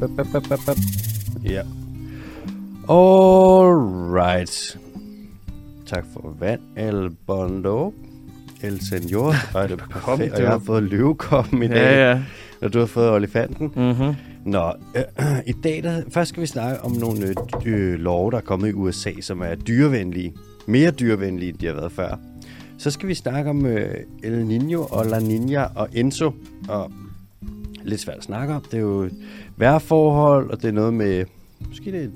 Bap, bap, bap, bap, bap. Ja. Alright. Tak for vand, El Bondo. El Senor. Ej, det er perfekt. Og jeg har fået løvekoppen i dag. Ja, ja. Og du har fået olifanten. Mm-hmm. Nå, øh, i dag der, først skal vi snakke om nogle øh, øh, love, der er kommet i USA, som er dyrevenlige. Mere dyrevenlige, end de har været før. Så skal vi snakke om øh, El Nino og La Nina og Enzo. Og lidt svært at snakke om. Det er jo vejrforhold, og det er noget med... Måske det er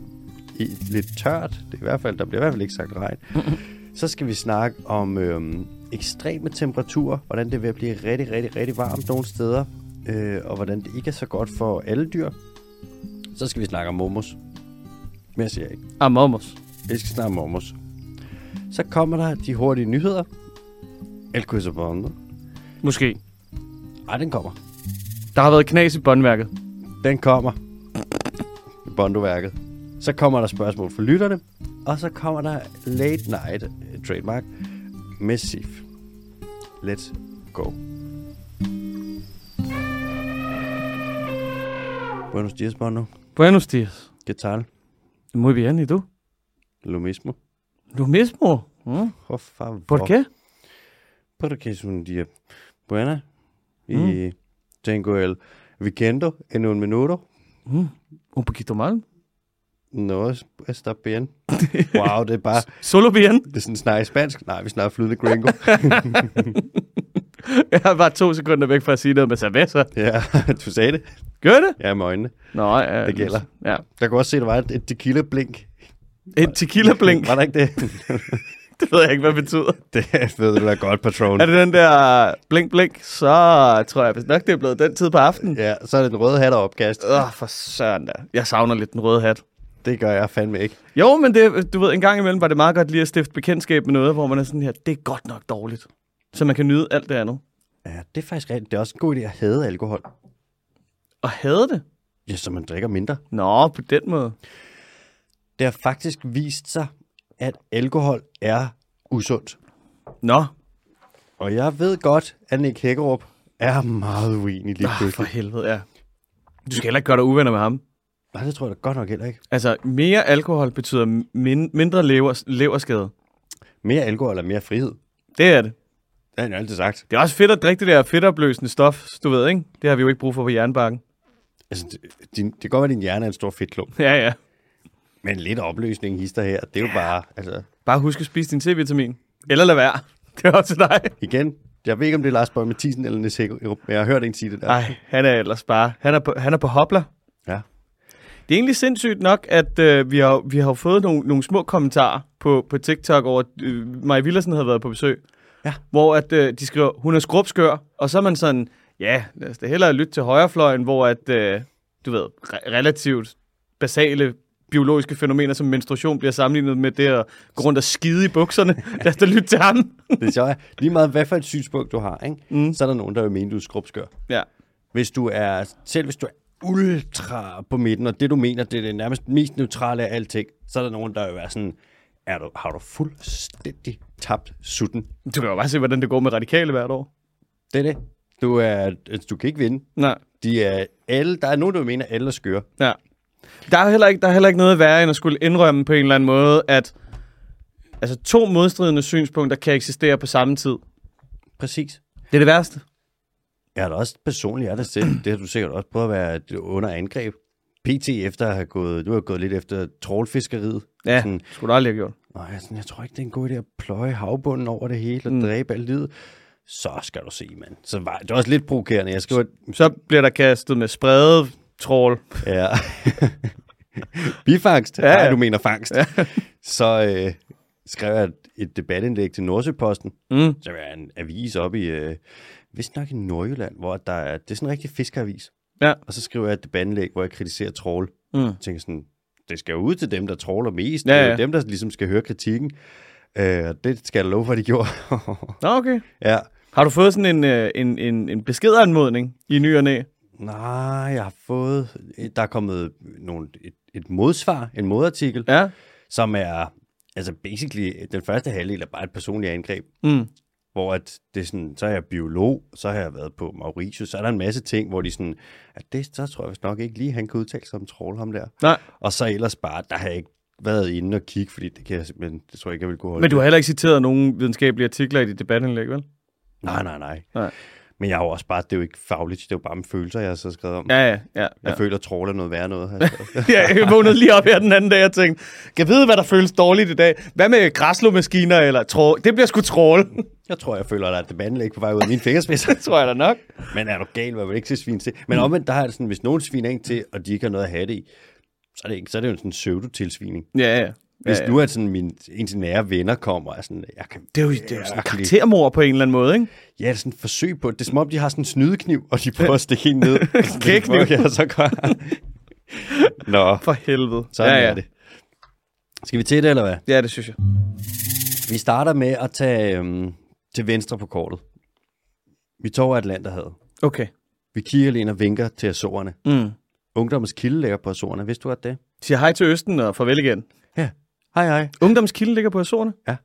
i- lidt tørt. Det er i hvert fald, der bliver i hvert fald ikke sagt regn. Så skal vi snakke om øh, ekstreme temperaturer, hvordan det vil blive rigtig, rigtig, rigtig varmt nogle steder, øh, og hvordan det ikke er så godt for alle dyr. Så skal vi snakke om momos. Men jeg siger ikke. Og momos. Vi skal snakke om momos. Så kommer der de hurtige nyheder. El Cusabondo. Måske. Ej, den kommer. Der har været knas i båndværket. Den kommer. Bondoværket. Så kommer der spørgsmål fra lytterne. Og så kommer der Late Night øh, Trademark med Sif. Let's go. Buenos dias, Bono. Buenos dias. ¿Qué tal? Muy bien, ¿y tú? Lo mismo. Lo mismo. Mm. Por favor. ¿Por qué? Porque es un día buena. Y tengo el weekendo en un minuto. Mm. Un poquito mal. No es- está bien. Wow, det er bare... Solo bien. Det er sådan snakker i spansk. Nej, vi snakker flydende gringo. Jeg var bare to sekunder væk fra at sige noget med cerveza. Ja, du sagde det. Gør det? Ja, med øjnene. Nå, ja. Det gælder. Ja. Jeg kunne også se, at der var et, et tequila-blink. Et tequila-blink. Var der ikke det? Det ved jeg ikke, hvad det betyder. det ved du da godt, patron. Er det den der blink-blink, så tror jeg vist nok, det er blevet den tid på aftenen. Ja, så er det den røde hat og opkast. Åh, for søren da. Jeg savner lidt den røde hat. Det gør jeg fandme ikke. Jo, men det, du ved, en gang imellem var det meget godt lige at stifte bekendtskab med noget, hvor man er sådan her, det er godt nok dårligt. Så man kan nyde alt det andet. Ja, det er faktisk rigtigt. Det er også en god idé at hade alkohol. Og havde det? Ja, så man drikker mindre. Nå, på den måde. Det har faktisk vist sig, at alkohol er usundt. Nå, Og jeg ved godt, at Nick Hækkerup er meget uenig lige ah, for pludselig. helvede, ja. Du skal heller ikke gøre dig uvenner med ham. Nej, det tror jeg da godt nok heller ikke. Altså, mere alkohol betyder min- mindre lever- leverskade. Mere alkohol er mere frihed. Det er det. Det har han jo altid sagt. Det er også fedt at drikke det der fedtopløsende stof, du ved, ikke? Det har vi jo ikke brug for på jernbakken. Altså, det- din, det kan godt være, at din hjerne er en stor fedtklump. Ja, ja. Men lidt opløsning hister her, det er jo bare, altså, Bare husk at spise din C-vitamin. Eller lad være. Det er op til dig. igen, jeg ved ikke, om det er Lars Borg Mathisen eller Niels Hækkerup, men jeg har hørt en sige det der. Nej, han er ellers bare... Han er på, han er på hopler. Ja. Det er egentlig sindssygt nok, at øh, vi har vi har jo fået nogle, nogle små kommentarer på, på TikTok over, at øh, Maja Villersen havde været på besøg. Ja. Hvor at, øh, de skriver, hun er skrubskør, og så er man sådan, ja, lad os da hellere lytte til højrefløjen, hvor at, øh, du ved, re- relativt basale biologiske fænomener som menstruation bliver sammenlignet med det at gå rundt og skide i bukserne. Lad os da lytte til ham. Det er sjovt. Lige meget hvad for et synspunkt du har, ikke? Mm. så er der nogen, der vil mene, du er skrubskør. ja. Hvis du er, selv hvis du er ultra på midten, og det du mener, det er det nærmest mest neutrale af alting, så er der nogen, der vil være sådan, er du, har du fuldstændig tabt sutten? Du kan jo bare se, hvordan det går med radikale hvert år. Det er det. Du, er, altså, du kan ikke vinde. Nej. De er alle, der er nogen, der vil mene, at alle er skøre. Ja. Der er, heller ikke, der er heller ikke noget værre, end at skulle indrømme på en eller anden måde, at altså, to modstridende synspunkter kan eksistere på samme tid. Præcis. Det er det værste. Jeg har da også personligt, jeg er da selv, det har du sikkert også prøvet at være et- under angreb. PT efter at have gået, du har gået lidt efter trålfiskeriet. Ja, Sådan, det skulle du aldrig have gjort. Nå, jeg, er sådan, jeg tror ikke, det er en god idé at pløje havbunden over det hele og mm. dræbe alt livet. Så skal du se, mand. Så var, det var også lidt provokerende. Jeg skriver, Så bliver der kastet med sprede trål. ja. Bifangst? Ja, Ja, ja. Nej, ja. du mener fangst. Ja. Så øh, skrev jeg et, et debatindlæg til Nordsjøposten, Mm. som er en avis oppe i, øh, vist nok i Nordjylland, hvor der er, det er sådan en rigtig fiskeravis. Ja. Og så skriver jeg et debatindlæg, hvor jeg kritiserer trål. Mm. Jeg tænker sådan, det skal jo ud til dem, der tråler mest. Ja, Ja, ja. Det er ja. jo dem, der ligesom skal høre kritikken. Øh, og det skal jeg love for, de gjorde. Nå, okay. ja. Har du fået sådan en, øh, en, en, en beskedanmodning i ny og næ? Nej, jeg har fået... Der er kommet nogle, et, et modsvar, en modartikel, ja. Ja. som er... Altså basically, den første halvdel er bare et personligt angreb. Mm. Hvor at det er sådan, så er jeg biolog, så har jeg været på Mauritius, så er der en masse ting, hvor de sådan, at det, så tror jeg vist nok ikke lige, han kan udtale sig om troll ham der. Nej, Og så ellers bare, der har jeg ikke været inde og kigge, fordi det kan jeg simpelthen, det tror jeg ikke, jeg vil kunne holde. men du har heller ikke citeret nogen videnskabelige artikler i dit debatindlæg, vel? Nej, nej, nej. Nej. Men jeg har jo også bare, det er jo ikke fagligt, det er jo bare mine følelser, jeg har så skrevet om. Ja, Ja, ja, ja. ja. ja. Jeg føler, at troll er noget værre noget. har jeg skrevet. ja jeg vågnede lige op her den anden dag og tænkte, kan jeg vide, hvad der føles dårligt i dag? Hvad med græslomaskiner eller trål? Det bliver sgu trål, jeg tror, jeg føler, at der er et debatindlæg på vej ud af mine fingerspidser. tror jeg da nok. Men er du gal, hvad vil ikke se svin til? Men Mm. omvendt, der har jeg det sådan, hvis nogen sviner en til, og de ikke har noget at have det i, så er det, ikke, så er det jo sådan en pseudotilsvining. Ja, ja. Hvis ja, nu er sådan, min, en af de nære venner kommer, og er sådan, jeg kan, Det er jo, det er jo sådan Jeg en kan lide- karaktermord på en eller anden måde, ikke? ja, det er sådan et forsøg på det. Det er som om, de har sådan en snydekniv, og de prøver at stikke en ned. Kækkniv. Ja, så gør Nå, For helvede. sådan ja, ja. er det. Skal vi til det, eller hvad? Ja, det synes jeg. Vi starter med at tage øhm, til venstre på kortet. Vi tog over Atlanterhavet. Okay. Vi kigger lige ind og vinker til Azorerne. Mm. Ungdommens kilde ligger på Azorerne. Vidste du godt det? Siger hej til Østen og farvel igen. Ja. Hej, hej. Ungdomskilde ligger på Azorerne. Det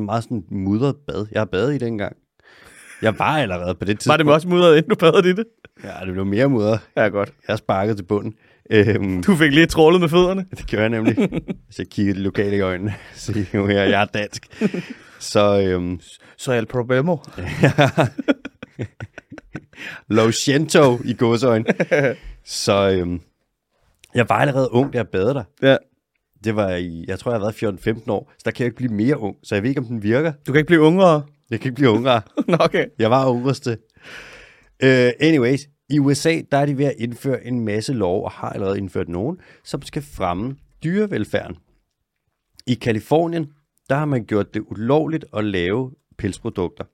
var meget sådan mudret bad. Jeg har badet i dengang. Jeg var allerede på det tidspunkt. Var det også mudret, inden du badede i det? Ja, det blev mere mudret. Ja, godt. Jeg sparkede til bunden. Øhm, Du fik lige trålet med fødderne. det gør jeg nemlig. Hvis jeg kigger de lokale i øjnene, så jo her, jeg er dansk. Så øhm, Så er el problemo. Lo Siento i godsøjne. Så øhm, jeg var allerede ung, da jeg badede der. Ja. Det var i, jeg tror, jeg har været 14-15 år, så der kan jeg ikke blive mere ung. Så jeg ved ikke, om den virker. Du kan ikke blive ungere. Jeg kan ikke blive ungere. Nå, okay. Jeg var ungreste. Uh, anyways, i USA, der er de ved at indføre en masse lov, og har allerede indført nogen, som skal fremme dyrevelfærden. I Kalifornien, der har man gjort det ulovligt at lave pelsprodukter.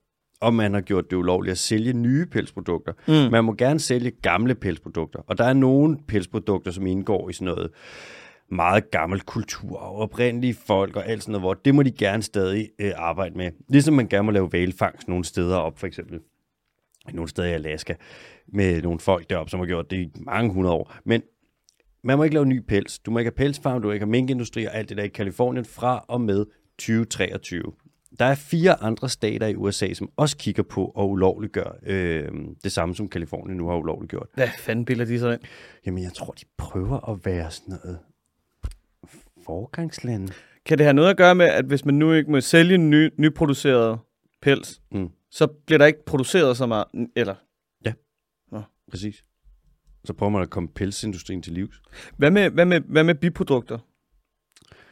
Og man har gjort det ulovligt at sælge nye pelsprodukter. Mm. Man må gerne sælge gamle pelsprodukter. Og der er nogle pelsprodukter, som indgår i sådan noget meget gammel kultur og oprindelige folk og alt sådan noget, hvor det må de gerne stadig øh, arbejde med. Ligesom man gerne må lave valfangst nogle steder op, for eksempel nogle steder i Alaska, med nogle folk deroppe, som har gjort det i mange hundrede år. Men man må ikke lave ny pels. Du må ikke have pelsfarm, du må ikke have minkindustri og alt det der i Kalifornien fra og med 2023. Der er fire andre stater i USA, som også kigger på at ulovliggøre øh, det samme, som Kalifornien nu har ulovliggjort. Hvad fanden bilder de sig ind? Jamen, jeg tror, de prøver at være sådan noget forgangslande. Kan det have noget at gøre med, at hvis man nu ikke må sælge ny, nyproduceret pels, Mm. så bliver der ikke produceret så meget? Eller Præcis. Så prøver man at komme pelsindustrien til livs. hvad med, hvad med, hvad med biprodukter?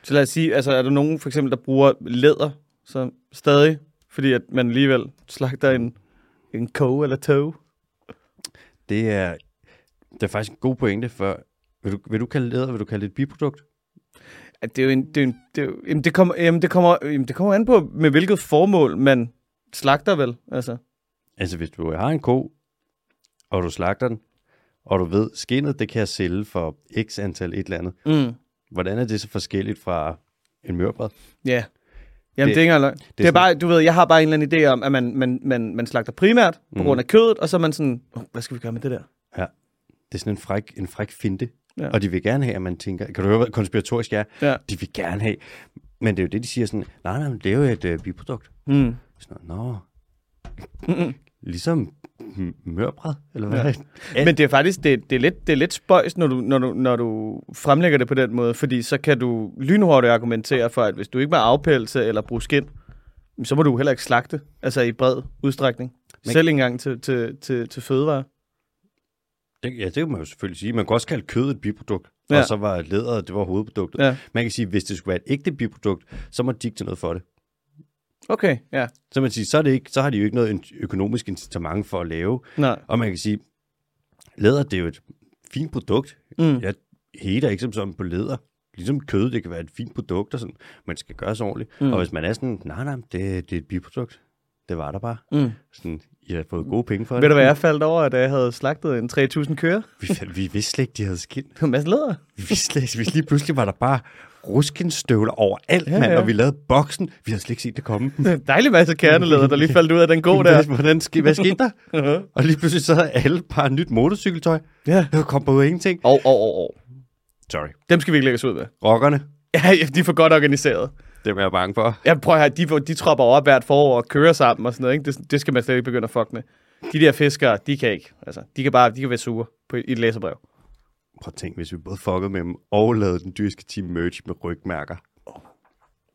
Så lad os sige, altså er der nogen for eksempel, der bruger læder så stadig, fordi at man alligevel slagter en, en ko eller tog? Det er, det er faktisk en god pointe, for vil du, vil du kalde læder, vil du kalde det et biprodukt? At det er jo en, det er jo en, det er jo, jamen, det kommer, jamen, det kommer, jamen, det kommer an på, med hvilket formål man slagter vel, altså. Altså, hvis du har en ko, og du slagter den, og du ved, skinnet, det kan jeg sælge for x antal et eller andet. Mm. Hvordan er det så forskelligt fra en mørbræd? Ja. Jamen, det, det Det- er ikke engang løgn. Det, det er sådan- bare, du ved, jeg har bare en eller anden idé om, at man, man, man, man slagter primært på Mhm. grund af kødet, og så er man sådan, oh, hvad skal vi gøre med det der? Det er sådan en fræk, en fræk finte. Ja. Ja. Og de vil gerne have, at man tænker, kan du høre, hvad konspiratorisk jeg er? Ja. De vil gerne have. Men det er jo det, de siger sådan, nej, nej, men det er jo et øh, biprodukt. Mm. Sådan, Nå, ligesom m- mørbræd, eller hvad? Ja. Ja. Men det er faktisk, det, det, er lidt, det er lidt spøjs, når du, når, du, når du fremlægger det på den måde, fordi så kan du lynhurtigt argumentere for, at hvis du ikke må afpælse eller bruge skind, så må du heller ikke slagte, altså i bred udstrækning. Men- Selv engang til, til, til, til fødevare. Det, ja, det kan man jo selvfølgelig sige. Man kan også kalde kød et biprodukt, ja. Ja. og så var læder, det var hovedproduktet. Ja. Man kan sige, hvis det skulle være et ægte biprodukt, så må de ikke til noget for det. Okay, ja. Så man kan sige, så, er det ikke, så har de jo ikke noget in- økonomisk incitament for at lave. Nej. Og man kan sige, læder, det er jo et fint produkt. Mm. Jeg hater ikke som sådan på læder. Ligesom kød, det kan være et fint produkt, og sådan, men det skal gøres ordentligt. Mm. Og hvis man er sådan, nej, nej, det, det er et biprodukt. Det var der bare. Mm. Sådan, I har fået gode penge for det. Ved du, hvad jeg faldt over, da jeg havde slagtet en 3000 køer? Vi, vi vidste slet ikke, de havde skind. Det var en masse læder. Vi vidste slet ikke, vi lige pludselig var der bare ruskenstøvler overalt, ja, Ja, mand, ja. og vi lavede boksen. Vi havde slet ikke set det komme. En dejlig masse kernelæder, der lige faldt ud af den gode der. Hvordan, hvordan, ske- hvad skete der? og lige pludselig så havde alle bare nyt motorcykeltøj. Ja. Det kom på ingenting. Og, og, og, og. Sorry. Dem skal vi ikke lægge os ud med. Rockerne. Ja, de er for godt organiseret. Dem er jeg bange for. Jeg prøver at høre, de, de tropper op hvert forår og kører sammen og sådan noget. Ikke? Det, det skal man slet ikke begynde at fuck med. De der fiskere, de kan ikke. Altså, de kan bare de kan være sure på et, i et læserbrev. Prøv at tænk, hvis vi både fuckede med dem og lavede den dyrske team merch med rygmærker.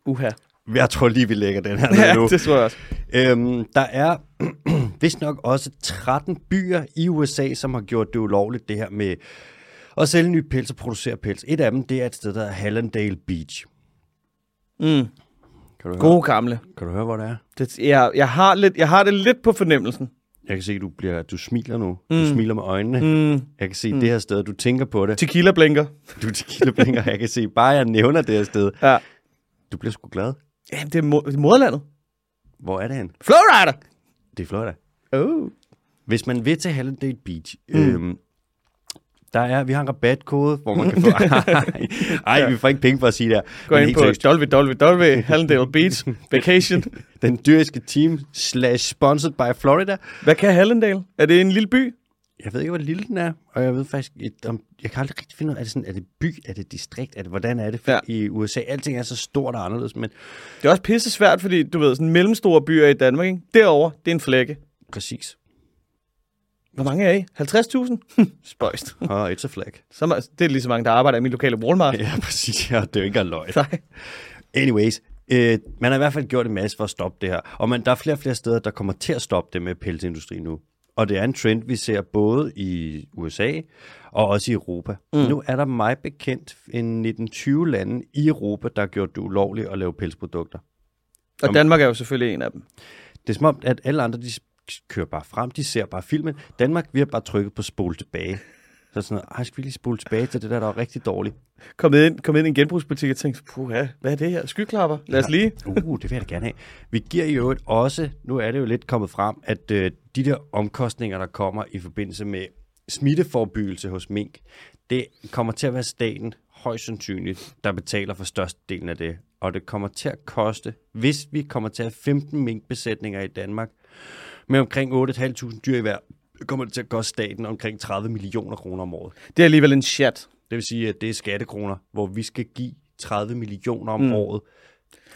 Uha. Jeg tror lige, vi lægger den her ned Ja, nu. det tror jeg også. Øhm, der er vist nok også 13 byer i USA, som har gjort det ulovligt, det her med at sælge ny pels og producere pels. Et af dem, det er et sted, der hedder Hallandale Beach. Mm. Kan du, høre, Gode gamle. kan du høre, hvor det er? Det, jeg, jeg, har lidt, jeg har det lidt på fornemmelsen. Jeg kan se, du bliver, du smiler nu. Du smiler med øjnene. Mm. Jeg kan se det her sted, du tænker på det. Tequila blinker. Du tequila jeg kan se, bare jeg nævner det her sted. Ja. Du bliver sgu glad. Jamen, det er mo- moderlandet. Hvor er det hen? Flowrider! Det er Florida. Oh. Hvis man vil til Hallandale Beach, mm. øhm, der er, vi har en rabatkode, hvor man kan få... Ej, vi får ikke penge for at sige det her. Gå Men ind på helt seriøst, www.hallendale Beach Vacation. Den dyriske team slash sponsored by Florida. Hvad kan Hallendale? Er det en lille by? Jeg ved ikke, hvor lille den er, og jeg ved faktisk ikke, om, jeg kan aldrig rigtig finde ud af, er det, sådan, er det by, er det distrikt, er det, hvordan er det for Ja. ja. i USA? Alting er så stort og anderledes, men Det er også pisse svært, fordi du ved, sådan mellemstore byer i Danmark, ikke? Derovre, det er en flække. præcis. Hvor mange er I? 50.000? Spøjst. Og it's a flag. Så ma- det er lige så mange, der arbejder i min lokale Walmart. Ja, præcis. Ja, det er jo ikke engang løgn. Nej. Anyways, øh, man har i hvert fald gjort en masse for at stoppe det her. Og man, der er flere og flere steder, der kommer til at stoppe det med pelsindustrien nu. Og det er en trend, vi ser både i USA og også i Europa. Mm. Nu er der meget bekendt en 1920 lande i Europa, der har gjort det ulovligt at lave pelsprodukter. Og Danmark er jo selvfølgelig en af dem. Det er som om, at alle andre, de kører bare frem, de ser bare filmen. Danmark, vi har bare trykket på spol tilbage. Så er det sådan noget, ej, skal vi lige spole tilbage til det der, der var rigtig dårligt? Kommet ind, kommet ind i en genbrugsbutik og tænkte, puha, hvad er det her? Skyklapper? Lad os lige. Uh, det vil jeg da gerne have. Vi giver i øvrigt også, nu er det jo lidt kommet frem, at øh, de der omkostninger, der kommer i forbindelse med smitteforbyggelse hos mink, det kommer til at være staten højst sandsynligt, der betaler for størstedelen af det. Og det kommer til at koste, hvis vi kommer til at have 15 minkbesætninger i Danmark, med omkring 8.500 dyr i hver, kommer det til at koste staten omkring 30 millioner kroner om året. Det er alligevel en chat. Det vil sige, at det er skattekroner, hvor vi skal give 30 millioner om mm. året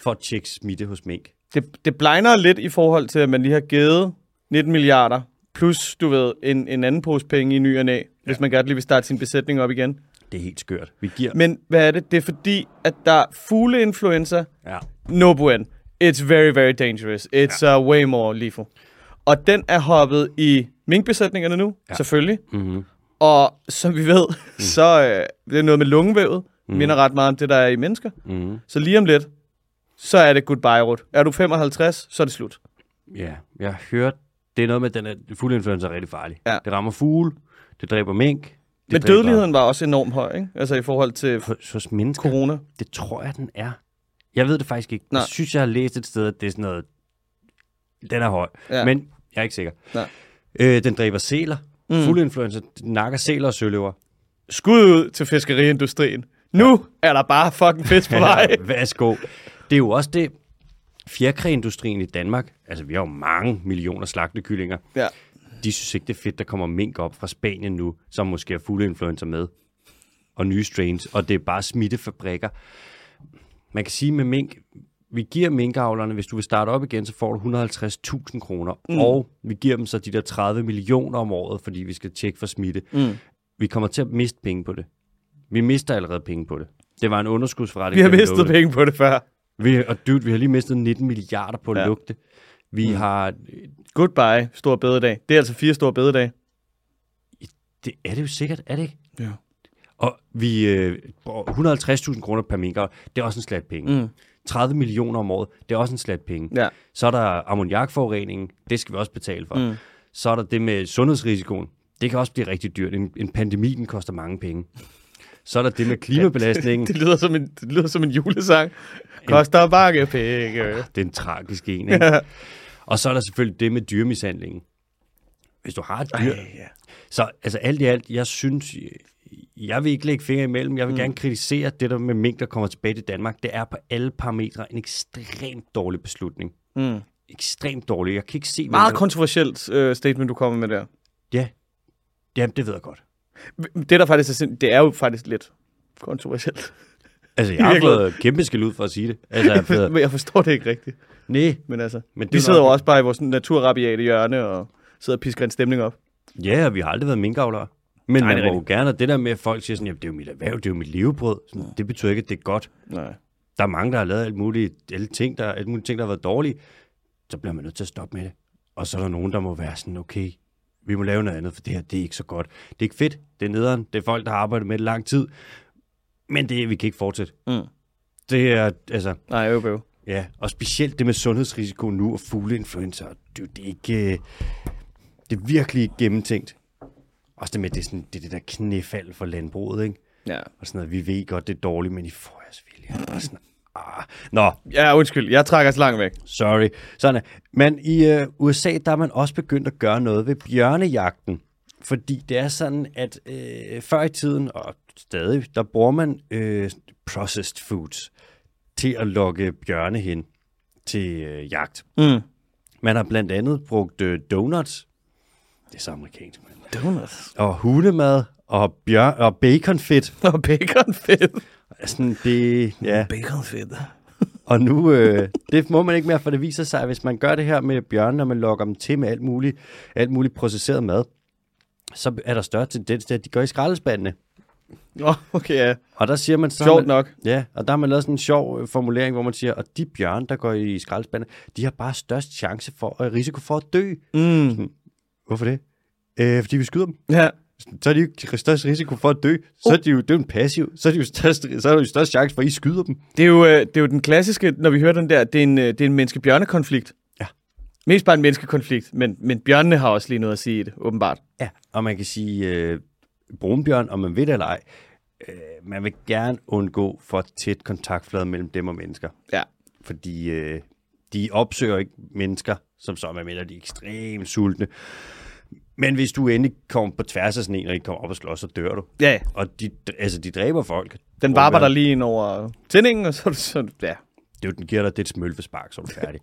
for at tjekke smitte hos mink. Det, det blegner lidt i forhold til, at man lige har givet 19 milliarder, plus, du ved, en, en anden pose penge i ny og næ, ja. hvis man godt lige vil starte sin besætning op igen. Det er helt skørt. Vi giver... Men hvad er det? Det er fordi, at der er fugleinfluenza, Ja. no bueno. It's very, very dangerous. It's ja. uh, way more lethal. Og den er hoppet i minkbesætningerne nu, ja. selvfølgelig. Mm-hmm. Og som vi ved, mm. så øh, det er noget med lungevævet. Mm. Minder ret meget om det, der er i mennesker. Mm-hmm. Så lige om lidt, så er det goodbye, Rut. Er du 55, så er det slut. Ja, jeg har hørt, det er noget med, at den er, fugleinfluenza er rigtig farlig. Ja. Det rammer fugle, det dræber mink. Det Men dræber- dødeligheden var også enormt høj, ikke? Altså i forhold til Hos, hos mennesker, corona. det tror jeg, den er. Jeg ved det faktisk ikke. Nej. Nej. Jeg synes, jeg har læst et sted, at det er sådan noget... Den er høj, Ja. men jeg er ikke sikker. Nej. Øh, den dræber sæler. Mm. Mm. Fugleinfluenza nakker sæler og søløver. Skud ud til fiskeriindustrien. Nu er der bare fucking fisk på vej. Værsgo. Det er jo også det, fjerkræindustrien i Danmark, altså vi har jo mange millioner slagtekyllinger, ja. de synes ikke, det er fedt, der kommer mink op fra Spanien nu, som måske har fugleinfluenza med, og nye strains, og det er bare smittefabrikker. Man kan sige med mink, vi giver minkavlerne, hvis du vil starte op igen, så får du 150.000 kroner, mm. og vi giver dem så de der 30 millioner om året, fordi vi skal tjekke for smitte. Mm. Vi kommer til at miste penge på det. Vi mister allerede penge på det. Det var en underskudsforretning. Vi har kan jeg mistet love dig. penge på det før. Vi, og dude, vi har lige mistet 19 milliarder på at Ja. ja. lugte. Vi mm. har... Goodbye, stor bededag. Det er altså fire store bededage. Det er det jo sikkert, er det ikke? Ja. Og vi øh, bruger 150.000 kroner per minkavl, det er også en slat penge. Mm. 30 millioner om året, det er også en slat penge. Ja. Så er der ammoniakforureningen, det skal vi også betale for. Mm. Så er der det med sundhedsrisikoen, det kan også blive rigtig dyrt. En, en pandemi, den koster mange penge. Så er der det med klimabelastningen, Det lyder som en, det lyder som en julesang. Koster bakke penge. det er en tragisk en, ikke? Og så er der selvfølgelig det med dyremishandlingen. Hvis du har et dyr, ja. Så altså alt i alt, jeg synes, jeg vil ikke lægge fingre imellem. Jeg vil mm. gerne kritisere det der med mink, der kommer tilbage til Danmark. Det er på alle parametre en ekstremt dårlig beslutning. Mm. Ekstremt dårlig. Jeg kan ikke se... hvem Meget der- kontroversielt øh, statement, du kommer med der. Ja, Jamen, det ved jeg godt. Det, der faktisk er sind... det er jo faktisk lidt kontroversielt. Altså, jeg har virkeligheden. fået kæmpe skæld ud for at sige det. Altså, jeg har fået... Men jeg forstår det ikke rigtigt. Nej. Men altså, Men det vi er sidder nok- jo også bare i vores naturrabiate hjørne og sidder og pisker en stemning op. Ja, og vi har aldrig været minkavlere. Men Nej, Nej, det man er må jo gerne, og det der med, at folk siger sådan, jamen, det er jo mit erhverv, det er jo mit levebrød. Sådan, det betyder ikke, at det er godt. Nej. Der er mange, der har lavet alt muligt, alle ting, der, alt muligt ting, der har været dårlige. Så bliver man nødt til at stoppe med det. Og så er der nogen, der må være sådan, okay, vi må lave noget andet, for det her, det er ikke så godt. Det er ikke fedt, det er nederen, det er folk, der har arbejdet med det lang tid. Men det, vi kan ikke fortsætte. Mm. Det er, altså, Nej, øv, øv. Ja, og specielt det med sundhedsrisiko nu og fugleinfluenza, det, er jo- det er ikke... øh, Det er virkelig ikke gennemtænkt. Også det med, det, er sådan, det, er det der knæfald for landbruget, ikke? Ja. Og sådan noget, vi ved godt, det er dårligt, men I får jeres vilje. Og sådan, ah. Nå, ja, undskyld. Jeg trækker os langt væk. sorry. Sådan er. Men i øh, USA, der er man også begyndt at gøre noget ved bjørnejagten. Fordi det er sådan, at øh, før i tiden, og stadig, der bruger man øh, processed foods til at lokke bjørne hen til øh, jagt. Mm. Man har blandt andet brugt øh, donuts, det er så amerikansk, man. Donuts. og hundemad, og, bjør- og baconfedt. Og baconfedt. Sådan det, ja. Baconfedt. Og nu, øh, det må man ikke mere, for det viser sig, at hvis man gør det her med bjørnene, og man lokker dem til med alt muligt, alt muligt processeret mad, så er der større tendens til, at de går i skraldespandene. Nå, okay, ja. Og der siger man så... Sjovt nok. Ja, og der har man lavet sådan en sjov øh, formulering, hvor man siger, at de bjørn, der går i skraldespandene, de har bare størst chance for, øh, risiko for at dø. Mm. Hvorfor det? Øh, fordi vi skyder dem. Ja. så er de jo ikke størst risiko for at dø. Så er Oh. de jo, det er jo en passiv. Så er, de jo størst, så er der jo størst chance for, at I skyder dem. Det er, jo, øh, det er jo den klassiske, når vi hører den der, det er en, øh, det er en menneske-bjørne-konflikt. Ja. Mest bare en menneskekonflikt, men, men bjørnene har også lige noget at sige i det, åbenbart. Ja. Og man kan sige, øh, brunbjørn, om man ved det eller ej, øh, man vil gerne undgå for tæt kontaktflade mellem dem og mennesker. Ja. Fordi øh, de opsøger ikke mennesker, som så man mener, de er ekstremt sultne. Men hvis du endelig kommer på tværs af sådan en, og ikke kommer op og slår, så dør du. Ja, Og de, altså, de dræber folk. den varper dig lige ind over tændingen, og så er du sådan, ja. Det er jo, den giver dig det smølvespark, så er du færdig.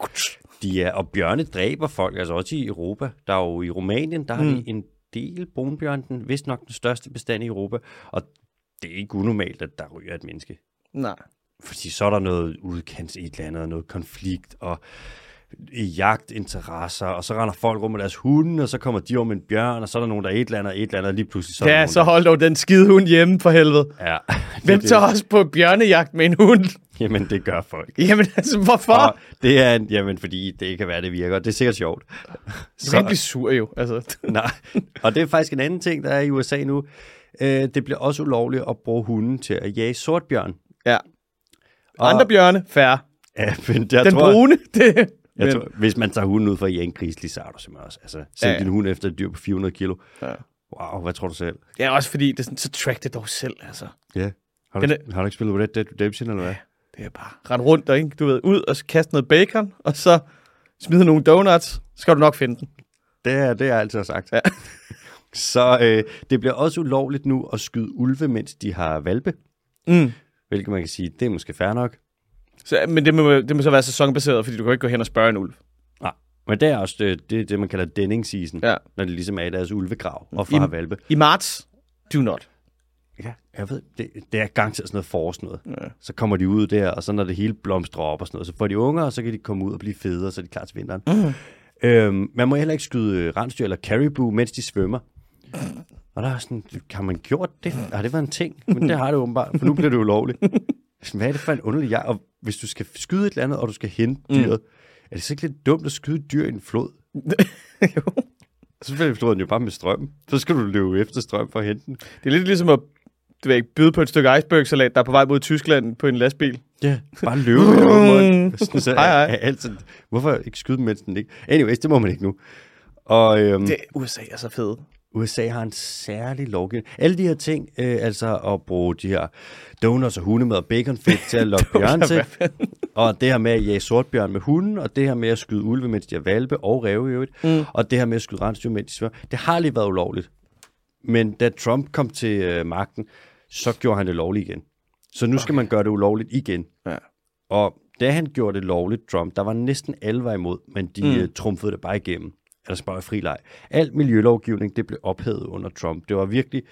De er, og bjørne dræber folk, altså også i Europa. Der er jo i Rumænien, der mm. har de en del brunbjørn, den vist nok den største bestand i Europa. Og det er ikke unormalt, at der ryger et menneske. Nej. Fordi så er der noget udkants i et eller andet, og noget konflikt, og jagtinteresser, og så render folk rundt med deres hunde, og så kommer de om en bjørn, og så er der nogen, der er et eller andet, og et eller andet, og lige pludselig så er der Ja, nogen, så hold dog den skide hund hjemme for helvede. der... Ja, det, Hvem Hvem tager også på bjørnejagt med en hund? Jamen, det gør folk. Jamen altså, hvorfor? Og det er, en- jamen, fordi det kan være, det virker, og det er sikkert sjovt. Du kan ikke blive sur jo, altså. Nej, og det er faktisk en anden ting, der er i USA nu. Øh, det bliver også ulovligt at bruge hunden til at jage sortbjørn. Ja. Andre bjørne, færre. Ja, men jeg Den tror, brune, det... jeg Men, tror, hvis man tager hunden ud for at jage en grislig, så er du simpelthen også. Altså, send Ja, ja. ja. din hund efter et dyr på 400 kilo. Ja. Wow, hvad tror du selv? ja, også fordi, det er sådan, så track det dog selv, altså. Ja. Har Den du, har du ikke spillet Red Dead Redemption, eller hvad? Det er bare rende rundt og, ikke? du ved, ud og kaste noget bacon, og så smide nogle donuts, så skal du nok finde den. Det er det, jeg altid har sagt. Ja. Så øh, det bliver også ulovligt nu at skyde ulve, mens de har valpe. Mm. Hvilket man kan sige, det er måske fair nok. Så, men det må, det må så være sæsonbaseret, fordi du kan jo ikke gå hen og spørge en ulv. Nej. Men det er også øh, det, det, er det man kalder denning season. Ja. Når det ligesom er i deres ulvegrav og I- far valpe. I marts, do not. Ja, jeg ved, det, det er garanteret sådan noget force noget. Ja. Så kommer de ud der, og så når det hele blomstrer op og sådan noget, så får de unger, og så kan de komme ud og blive federe, så er de klar til vinteren. Mm. Øhm, man må heller ikke skyde øh, rensdyr eller caribou, mens de svømmer. Og der er sådan, har man gjort det? Har det været en ting? Men det har det åbenbart, for nu bliver det ulovligt. Sådan, Hvad er det for en underlig jeg? Og hvis du skal skyde et eller andet, og du skal hente dyret, er det så ikke lidt dumt at skyde et dyr i en flod? jo. Så bliver floden jo bare med strøm. Så skal du løbe efter strøm for at hente den. Det er lidt ligesom at du ved ikke, byde på et stykke icebergsalat, der er på vej mod Tyskland på en lastbil. Ja, bare løbe med åben mund. Sådan, så er, Hej, hej. er altid, hvorfor ikke skyde dem, mens den ikke? Anyways, det må man ikke nu. Og øhm, Det USA er så fedt. USA har en særlig lovgivning. Alle de her ting, øh, altså at bruge de her donuts og hundemad og baconfedt til at lokke bjørn til, og det her med at jage sortbjørn med hunden, og det her med at skyde ulve, mens de har valpe og ræve i øvrigt, mm. og det her med at skyde rensdyr, mens de svømmer, det har lige været ulovligt. Men da Trump kom til øh, magten, så gjorde han det lovligt igen. Så nu okay. skal man gøre det ulovligt igen. Ja. Og da han gjorde det lovligt, Trump, der var næsten alle var imod, men de mm. trumfede det bare igennem. Ellers bare i fri leg. Al miljølovgivning, det blev ophævet under Trump. Det var virkelig,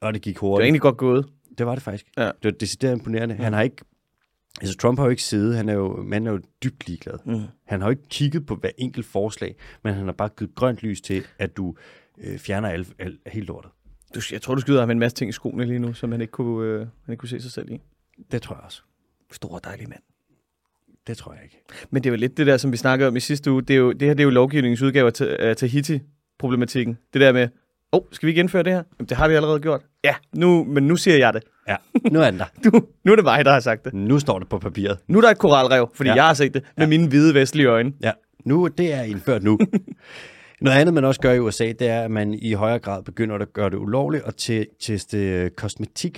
og det gik Det er hurtigt. egentlig godt gået. Det var det faktisk. Ja. Det var decideret imponerende. Han har ikke... Altså, Trump har jo ikke siddet. Han er jo, manden er jo dybt ligeglad. Mm. Han har jo ikke kigget på hver enkelt forslag, men han har bare givet grønt lys til, at du øh, fjerner al, al, helt lortet. Du, jeg tror, du skyder ham en masse ting i skoene lige nu, som han ikke kunne, øh, han ikke kunne se sig selv i. Det tror jeg også. Stor dejlig mand. Det tror jeg ikke. Men det er jo lidt det der, som vi snakkede om i sidste uge. Det, er jo, det her det er jo lovgivningens udgave af Ta- af Tahiti-problematikken. Det der med, åh, oh, skal vi ikke indføre det her? Jamen, det har vi allerede gjort. Ja, nu, men nu siger jeg det. Ja, nu er den der. Du, nu er det mig, der har sagt det. Nu står det på papiret. Nu er der et koralrev, fordi ja. Ja. jeg har set det med ja. mine hvide vestlige øjne. Ja, nu, det er indført nu. Noget andet, man også gør i USA, det er, at man i højere grad begynder at gøre det ulovligt at te- teste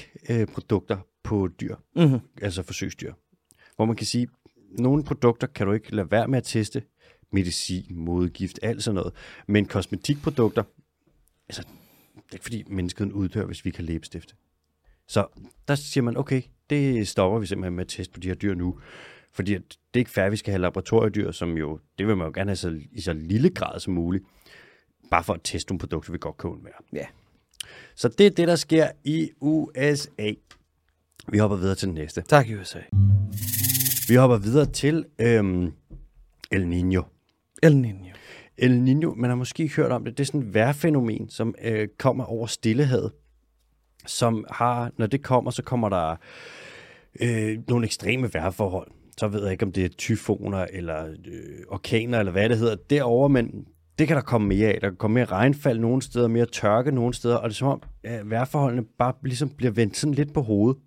kosmetikprodukter på dyr, mm-hmm. altså forsøgsdyr. Hvor man kan sige, nogle produkter kan du ikke lade være med at teste, medicin, modgift, alt sådan noget. Men kosmetikprodukter, altså, det er ikke fordi mennesket uddør, hvis vi kan læbestifte. Så der siger man, okay, det stopper vi simpelthen med at teste på de her dyr nu. Fordi at det er ikke fair, at vi skal have laboratoriedyr, som jo, det vil man jo gerne have så, i så lille grad som muligt, bare for at teste nogle produkter, vi godt kan undvære. Ja. Så det er det, der sker i USA. Vi hopper videre til den næste. Tak, USA. Vi hopper videre til øhm, El Niño. El Niño. El Niño, man har måske ikke hørt om det, det er sådan et vejrfænomen, som øh, kommer over stillehavet, som har, når det kommer, så kommer der øh, nogle ekstreme vejrforhold. Så ved jeg ikke, om det er tyfoner eller øh, orkaner eller hvad det hedder derovre, men det kan der komme mere af. Der kan komme mere regnfald nogle steder, mere tørke nogle steder, og det er som om øh, vejrforholdene bare ligesom bliver vendt sådan lidt på hovedet.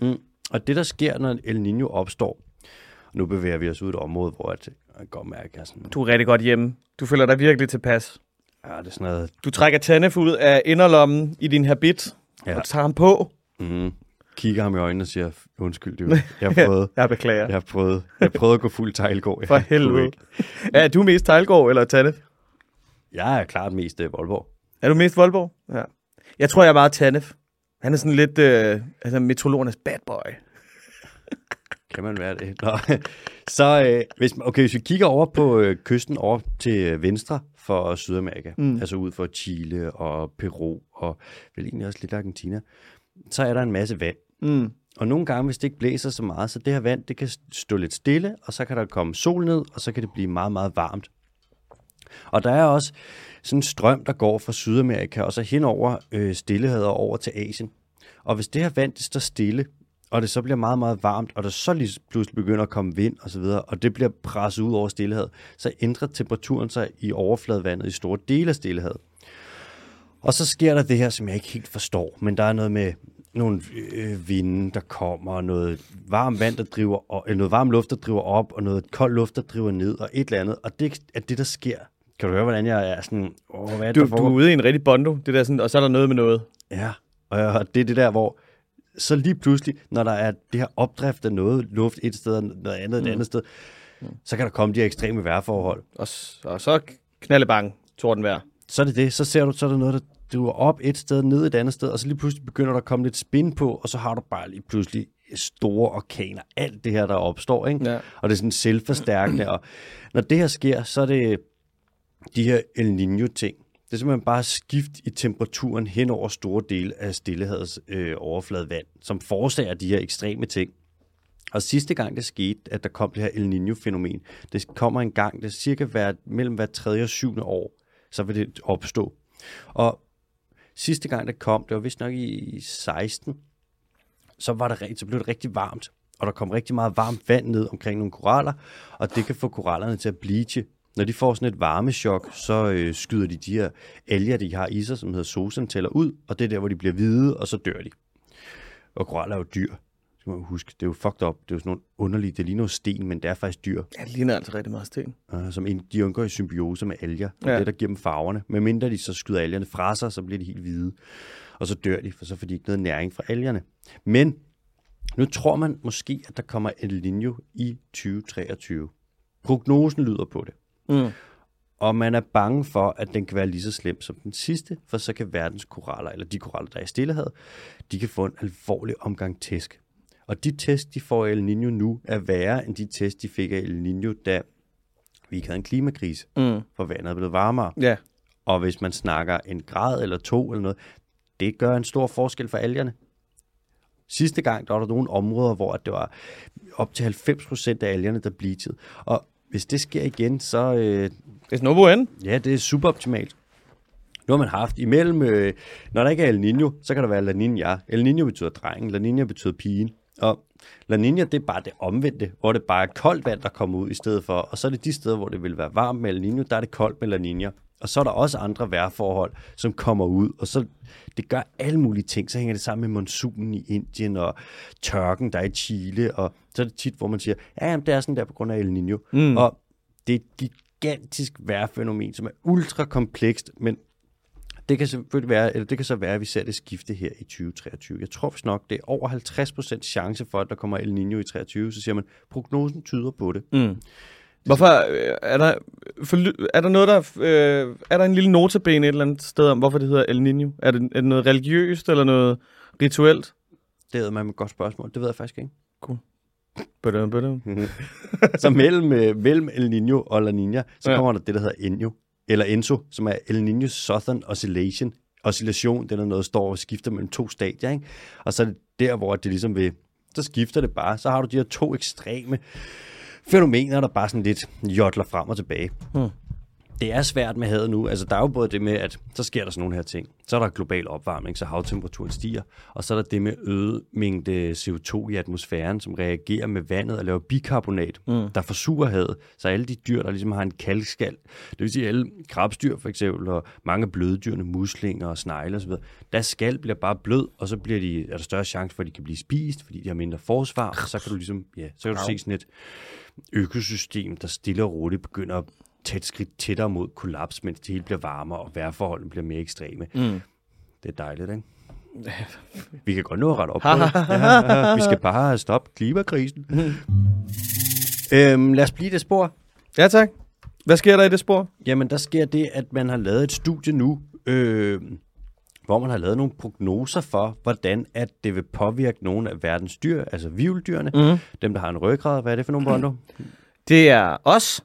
Mm. Og det, der sker, når El Niño opstår, nu bevæger vi os ud i et område, hvor at, jeg godt mærke, at jeg er sådan, Du er rigtig godt hjemme. Du føler dig virkelig tilpas. ja, det er sådan noget Du trækker Tanef ud af inderlommen i din habit ja. Ja. og tager ham på. Mm. Kigger ham i øjnene og siger, undskyld, det jeg har prøvet. Jeg beklager. Ja. Jeg har prøvet, jeg har prøvet at gå fuld teglgård. Jeg For kunne helvede. ikke. er du mest Tejlgaard eller Tanef? Jeg er klart mest øh, Voldborg. Er du mest Voldborg? Ja. Jeg tror, jeg er meget Tanef. Han er sådan lidt øh, altså metrologernes bad boy. Kan man være det? Nå. Så øh, hvis, okay, hvis vi kigger over på øh, kysten over til øh, venstre for Sydamerika, mm. altså ud for Chile og Peru og vel egentlig også lidt Argentina, så er der en masse vand. Mm. Og nogle gange, hvis det ikke blæser så meget, så det her vand, det kan stå lidt stille, og så kan der komme sol ned, og så kan det blive meget, meget varmt. Og der er også sådan en strøm, der går fra Sydamerika og så hen over øh, stillehavet og over til Asien. Og hvis det her vand det står stille, og det så bliver meget, meget varmt, og der så lige pludselig begynder at komme vind osv., og, så videre, og det bliver presset ud over stillehavet, så ændrer temperaturen sig i overfladevandet i store dele af stillehavet. Og så sker der det her, som jeg ikke helt forstår, men der er noget med nogle øh, vinde, der kommer, og noget varmt vand, der driver, og, øh, noget varm luft, der driver op, og noget kold luft, der driver ned, og et eller andet. Og det er det, der sker. Kan du høre, hvordan jeg er sådan, åh, hvad er det, Du, der du er foregår? ude i en rigtig bondo, det der sådan, og så er der noget med noget. Ja, og det er det der, hvor så lige pludselig, når der er det her opdrift af noget luft et sted og noget andet et andet sted, så kan der komme de her ekstreme vejrforhold. Og, s- og så knaldebang, tordenvejr. så er det det. Så ser du, så er der noget, der driver op et sted, ned et andet sted, og så lige pludselig begynder der at komme lidt spin på, og så har du bare lige pludselig store orkaner. Alt det her, der opstår, ikke? Ja. Og det er sådan selvforstærkende, og når det her sker, så er det de her El Niño-ting. Det er simpelthen bare skift i temperaturen hen over store dele af stillehavets øh, overfladevand, som forårsager de her ekstreme ting. Og sidste gang det skete, at der kom det her El Niño-fænomen, det kommer en gang, det er cirka hver, mellem hver tredje og syvende år, så vil det opstå. Og sidste gang det kom, det var vist nok i 16, så, var det, rigt- så blev det rigtig varmt, og der kom rigtig meget varmt vand ned omkring nogle koraller, og det kan få korallerne til at bleache. Når de får sådan et varmechok, så øh, skyder de de her alger, de har i sig, som hedder sosanteller, ud, og det er der, hvor de bliver hvide, og så dør de. Og koraller er jo dyr. Det skal man jo huske. Det er jo fucked up. Det er jo sådan nogle underlige, det ligner jo sten, men det er faktisk dyr Ja, det ligner altså rigtig meget sten. øh, som ind, de undgår i symbiose med alger. Det Ja. er det, der giver dem farverne. Men mindre de så skyder algerne fra sig, så bliver de helt hvide. Og så dør de, for så får de ikke noget næring fra algerne. Men nu tror man måske, at der kommer en linje i 2023. Prognosen lyder på det. Mm. Og man er bange for, at den kan være lige så slem som den sidste, for så kan verdens koraller, eller de koraller, der er i stillehavet, de kan få en alvorlig omgang tæsk. Og de tæsk, de får af El Niño nu, er værre end de tæsk, de fik af El Niño, da vi ikke havde en klimakrise, Mm. for vandet er blevet varmere. Ja. Og hvis man snakker en grad eller to eller noget, det gør en stor forskel for algerne. Sidste gang, der var der nogle områder, hvor at det var op til 90% af algerne, der bleachede. Og hvis det sker igen, så øh, Det er Snobo end. ja, det er superoptimalt. Nu har man haft imellem, øh, når der ikke er El Nino, så kan der være La Nina. El Nino betyder drengen, La Nina betyder pigen. Og La Nina, det er bare det omvendte, hvor det bare er koldt vand, der kommer ud i stedet for. Og så er det de steder, hvor det vil være varmt med El Nino, der er det koldt med La Nina. Og så er der også andre vejrforhold, som kommer ud, og så det gør alle mulige ting. Så hænger det sammen med monsunen i Indien og tørken, der er i Chile. Og så er det tit, hvor man siger, ja, jamen, det er sådan der på grund af El Nino. Mm. Og det er et gigantisk vejrfænomen, som er ultra komplekst, men det kan, selvfølgelig være, eller det kan så være, at vi ser det skifte her i 2023. Jeg tror vist nok, det er over 50% chance for, at der kommer El Nino i 23. Så siger man, prognosen tyder på det. Mm. Hvorfor øh, er der, for, er der noget, der, øh, er der en lille notabene et eller andet sted om, hvorfor det hedder El Niño? Er det, er det noget religiøst eller noget rituelt? Det er man med et godt spørgsmål. Det ved jeg faktisk ikke. Cool. Badum, badum. Så mellem, øh, mellem El Nino og La Nina, så Ja. kommer der det, der hedder Enjo, eller Enso, som er El Niños Southern Oscillation. Oscillation, det er når noget, der står og skifter mellem to stadier, ikke? Og så er det der, hvor det ligesom vil, så skifter det bare. Så har du de her to ekstreme fænomener, der bare sådan lidt jodler frem og tilbage. Hmm. Det er svært med havet nu. Altså, der er jo både det med, at så sker der sådan nogle her ting. Så er der global opvarmning, så havtemperaturen stiger. Og så er der det med øget mængde CO2 i atmosfæren, som reagerer med vandet og laver bikarbonat, mm. der forsurer havet. Så alle de dyr, der ligesom har en kalkskal, det vil sige alle krabstyr for eksempel, og mange af bløddyrene, muslinger og snegle osv., deres skal bliver bare blød, og så bliver de, er der større chance for, at de kan blive spist, fordi de har mindre forsvar. Og så kan du ligesom, ja, så kan du se sådan et, økosystem, der stille og roligt begynder at tage et skridt tættere mod kollaps, mens det hele bliver varmere, og vejrforholdene bliver mere ekstreme. Mm. Det er dejligt, ikke? Vi kan godt nå at rette op på det. Ja, vi skal bare stoppe klimakrisen. øhm, lad os blive i det spor. Ja tak. Hvad sker der i det spor? Jamen, der sker det, at man har lavet et studie nu, øh, hvor man har lavet nogle prognoser for, hvordan at det vil påvirke nogle af verdens dyr, altså vildyrene, mm. dem, der har en ryggrad. Hvad er det for nogle, Bondo? Det er os.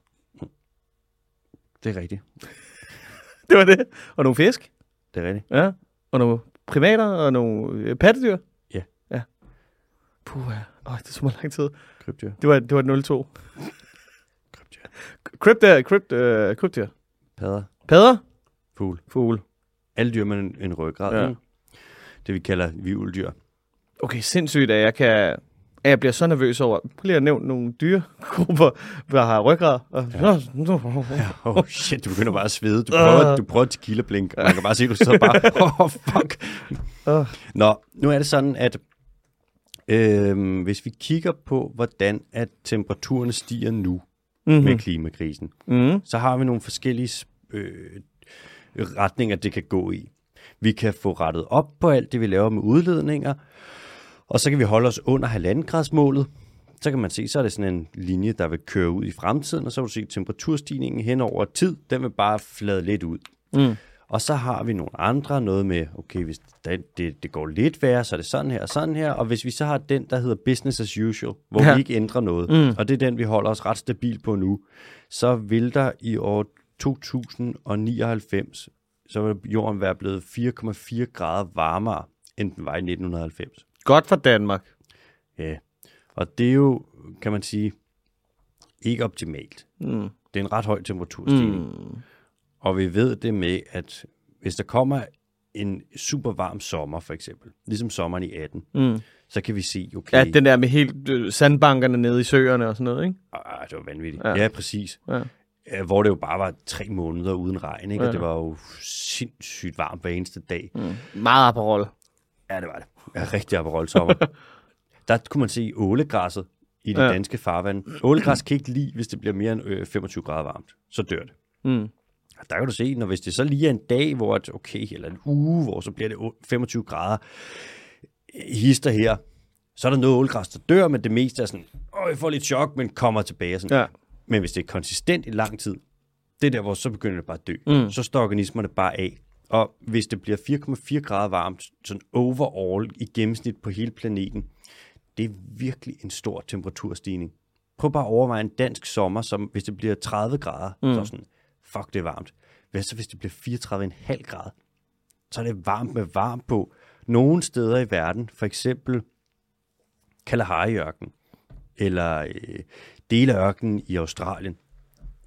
Det er rigtigt. Det var det. Og nogle fisk. Det er rigtigt. Ja. Og nogle primater og nogle øh, pattedyr. Ja. Ja. Puh, ja. Øj, det tog mig lang tid. Krybdyr. Det var, det var et 02. Krypter, krypt, øh, krypter. Padder. Padder? Fugl. Fugl. Alle dyr med en, en ryggrad. Ja. Ja. Det vi kalder vivldyr. Okay, sindssygt, at jeg kan... At jeg bliver så nervøs over... Prøv lige at nævne nogle dyregrupper, der har ryggrad. Og... Ja. Oh shit, du begynder bare at svede. Du prøver, du prøver at tequila blink. Man kan bare se, at du sidder bare, oh fuck. Åh. Nå, nu er det sådan, at øhm, hvis vi kigger på, hvordan at temperaturen stiger nu mm-hmm. Mhm. med klimakrisen, Mm. så har vi nogle forskellige øh, retninger, det kan gå i. Vi kan få rettet op på alt det, vi laver med udledninger, og så kan vi holde os under halvandengradsmålet. Så kan man se, så er det sådan en linje, der vil køre ud i fremtiden, og så vil du se temperaturstigningen hen over tid, den vil bare flade lidt ud. Mm. Og så har vi nogle andre, noget med, okay, hvis det, det, det går lidt værre, så er det sådan her og sådan her, og hvis vi så har den, der hedder business as usual, hvor ja. Ja. vi ikke ændrer noget, mm. og det er den, vi holder os ret stabil på nu, så vil der i år 2099, så vil jorden være blevet 4,4 grader varmere, end den var i 1990. Godt for Danmark. Ja, og det er jo, kan man sige, ikke optimalt. Mm. Hmm. Det er en ret høj temperaturstigning. Mm. Og vi ved det med, at hvis der kommer en super varm sommer, for eksempel, ligesom sommeren i 18, mm. så kan vi se, okay, Ja, den der med helt øh, sandbankerne nede i søerne og sådan noget, ikke? Ah, det var vanvittigt. Ja, ja præcis. Ja. Hvor det jo bare var tre måneder uden regn, ikke? Ja. og det var jo sindssygt varmt hver eneste dag. Mm. Meget Aperol. Ja, det var det. Ja, rigtig Aperol sommer. Der kunne man se ålegræsset i det ja. Ja. danske farvand. Ålegræs kan ikke lide, hvis det bliver mere end øh, 25 grader varmt. Så dør det. Mm. Og Der kan du se, når hvis det så lige er en dag, hvor et, okay, eller en uge, hvor så bliver det o- 25 grader øh, hister her, så er der noget ålegræs, der dør, men det meste er sådan, åh, jeg får lidt chok, men kommer tilbage. og Sådan, Ja. men hvis det er konsistent i lang tid, det er der, hvor så begynder det bare at dø. Mm. Så står organismerne bare af. Og hvis det bliver 4,4 grader varmt, sådan overall i gennemsnit på hele planeten, det er virkelig en stor temperaturstigning. Prøv bare at overveje en dansk sommer, som hvis det bliver 30 grader, mm. så er sådan, fuck, det er varmt. Hvad så, hvis det bliver 34,5 grader? Så er det varmt med varmt på. Nogle steder i verden, for eksempel Kalahari-ørkenen, eller øh, dele af ørkenen i Australien,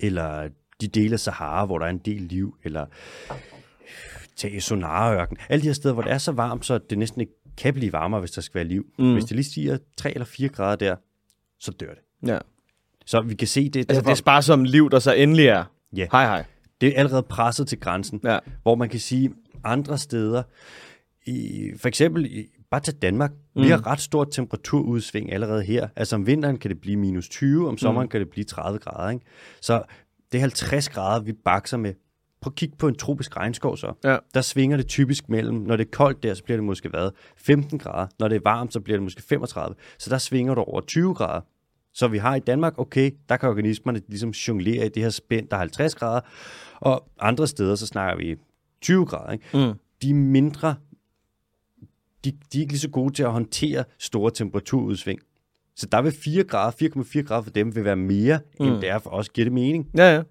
eller de dele af Sahara, hvor der er en del liv, eller øh, tag Sonarørken. Alle de her steder, hvor det er så varmt, så det næsten ikke kan blive varmere, hvis der skal være liv. Mm. Hvis det lige stiger 3 eller 4 grader der, så dør det. Ja. Så vi kan se, det, er Altså, derfor, det sparsomme liv, der så endelig er. Ja. Hej, hej. det er allerede presset til grænsen, Ja. hvor man kan sige, andre steder, i, for eksempel, i, bare til Danmark, mm. vi har ret stort temperaturudsving allerede her. Altså om vinteren kan det blive minus 20, om sommeren mm. kan det blive 30 grader. Ikke? Så det er 50 grader, vi bakser med. Prøv at kigge på en tropisk regnskov så. Ja. Der svinger det typisk mellem, når det er koldt der, så bliver det måske hvad, 15 grader. Når det er varmt, så bliver det måske 35. Så der svinger du over 20 grader. Så vi har i Danmark, okay, der kan organismerne ligesom jonglere i det her spænd, der er 50 grader. Og andre steder, så snakker vi 20 grader. Ikke? Mm. De er mindre, de, de er ikke lige så gode til at håndtere store temperaturudsving. Så der vil 4 grader, 4,4 grader for dem vil være mere, mm. end det er for os. Giver det mening? Ja, ja.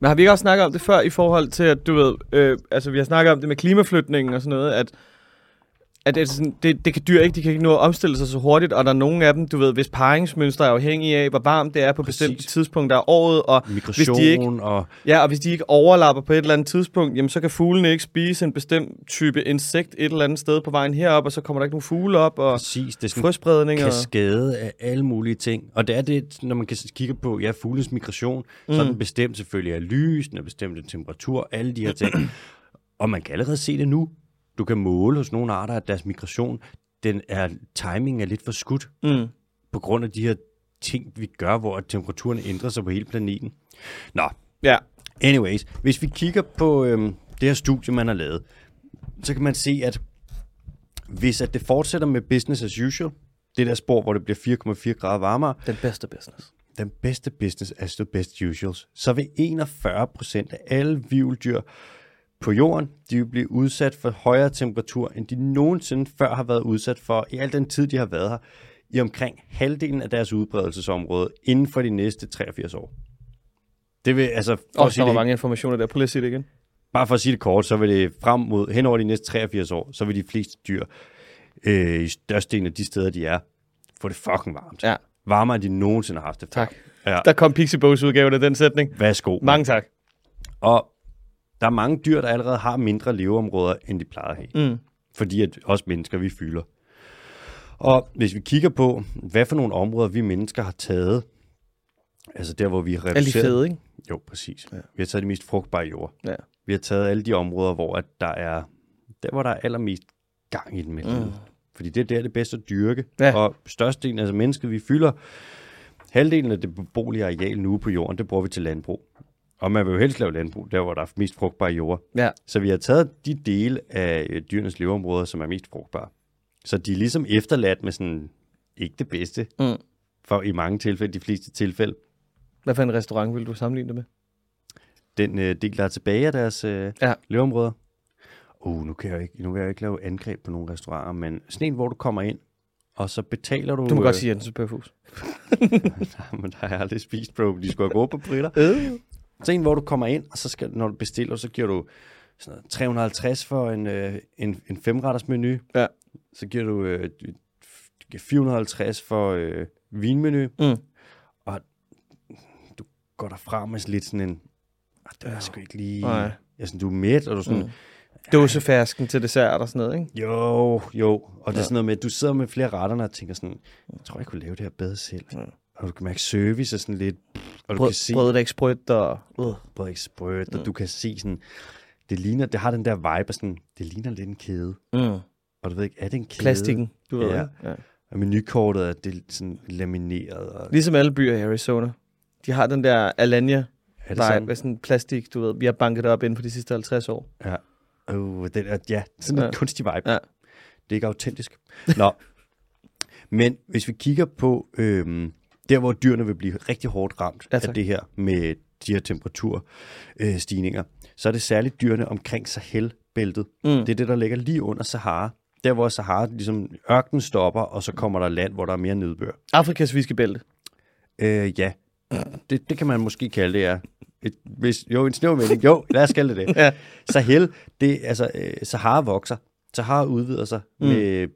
Men har vi ikke også snakket om det før i forhold til, at du ved, øh, altså vi har snakket om det med klimaflytningen og sådan noget, at, at det, er sådan, det, det kan dyr ikke, de kan ikke nå at omstille sig så hurtigt, og der er nogle af dem, du ved, hvis paringsmønster er afhængige af, hvor varmt det er på bestemte tidspunkter af året, og hvis Migration de ikke og... Ja, og hvis de ikke overlapper på et eller andet tidspunkt, jamen så kan fuglene ikke spise en bestemt type insekt et eller andet sted på vejen herop, og så kommer der ikke nogen fugle op, og Præcis, Mm. det er sådan frøspredning og... kaskade af alle mulige ting. Og det er det, når man kan kigge på ja, fuglens migration, mm. så er den bestemt selvfølgelig af lys, den er bestemt af temperatur, alle de her ting. Og man kan allerede se det nu. Du kan måle hos nogle arter, at deres migration, den er, timingen er lidt for skudt Mm. på grund af de her ting, vi gør, hvor temperaturen ændrer sig på hele planeten. Nå, Ja, anyways, hvis vi kigger på øhm, det her studie, man har lavet, så kan man se, at hvis at det fortsætter med business as usual, det der spor, hvor det bliver 4,4 grader varmere, den bedste business. den bedste business as the best usuals, så vil 41 procent af alle vilddyr på jorden, de vil blive udsat for højere temperatur, end de nogensinde før har været udsat for i al den tid, de har været her, i omkring halvdelen af deres udbredelsesområde inden for de næste 83 år. Det vil altså, for, Og at der sige var det, mange informationer der. Prøv lige at sige det igen. bare for at sige det kort, så vil det frem mod, hen over de næste 83 år, så vil de fleste dyr øh, i størstedelen af de steder, de er, få det fucking varmt. Ja. Varmere, end de nogensinde har haft det. før. Tak. Ja. Der kom Pixiebogs udgaven af den sætning. Værsgo. Mange tak. Og der er mange dyr, der allerede har mindre leveområder, end de plejer at have. Mm. Fordi at os mennesker, vi fylder. Og hvis vi kigger på, hvad for nogle områder vi mennesker har taget, altså der, hvor vi har Alle de reduceret... fede, ikke? Jo, præcis. Ja. Vi har taget de mest frugtbare jord. Ja. Vi har taget alle de områder, hvor at der er der, hvor der er allermest gang i den mellem. Mm. Fordi det er der, det er bedst at dyrke. Ja. Og størstedelen, altså mennesket, vi fylder, halvdelen af det beboelige areal nu på jorden, det bruger vi til landbrug. Og man vil jo helst lave landbrug, der hvor der er mest frugtbare jord. Ja. Så vi har taget de dele af øh, dyrenes leveområder, som er mest frugtbare. Så de er ligesom efterladt med sådan, ikke det bedste, Mm. for i mange tilfælde, de fleste tilfælde, Hvad for en restaurant vil du sammenligne det med? den øh, del, der er tilbage af deres øh, Ja. ja. leveområder. Uh, nu kan, jeg jo ikke, nu kan jeg jo ikke lave angreb på nogle restauranter, men sådan en, hvor du kommer ind, og så betaler du... Du må øh, godt sige Jensens Bøfhus. Nej, men der har jeg aldrig spist, bro. De skulle have gået på briller. Øh. Sådan en, hvor du kommer ind, og så skal, når du bestiller, så giver du sådan noget, 350 for en, øh, en, en femretters menu. Ja. Så giver du øh, 450 for øh, vinmenu. Mm. Og du går derfra med sådan lidt sådan en... "Ah, Det er sgu ikke lige... Nej. Altså, du er mæt, og du er sådan... Mm. Dåsefærsken til dessert og sådan noget, ikke? Jo, jo. Og det er sådan noget med, at du sidder med flere retterne og tænker sådan, jeg tror, jeg kunne lave det her bedre selv. Mm. Og du kan mærke service er sådan lidt... Og du Brød, kan se, brødet er ikke sprødt, og... Øh. brød ikke sprødt, mm. og du kan se sådan, det ligner, det har den der vibe af sådan, det ligner lidt en kæde. Mm. Og du ved ikke, er det en kæde? Plastikken, du ved. Ja. ikke? ja. Og menukortet er det sådan lamineret. Og Ligesom alle byer i Arizona. De har den der Alanya er det vibe sådan? sådan? af sådan plastik, du ved. Vi har banket det op inden for de sidste 50 år. Ja. Oh, den er, ja, sådan en Ja. kunstig vibe. Ja. Det er ikke autentisk. Nå. Men hvis vi kigger på øhm, der, hvor dyrene vil blive rigtig hårdt ramt Ja, ja, tak. af det her med de her temperaturstigninger, øh, stigninger, så er det særligt dyrene omkring Sahel-bæltet. Mm. Det er det, der ligger lige under Sahara. Der, hvor Sahara, ligesom ørkenen stopper, og så kommer der land, hvor der er mere nedbør. Afrikas viskebælte. Øh, ja, det, det kan man måske kalde det, ja. Et, hvis, jo, en snæver mening. Jo, lad os kalde det det. Ja. Sahel, det, altså, øh, Sahara vokser. Sahara udvider sig mm. med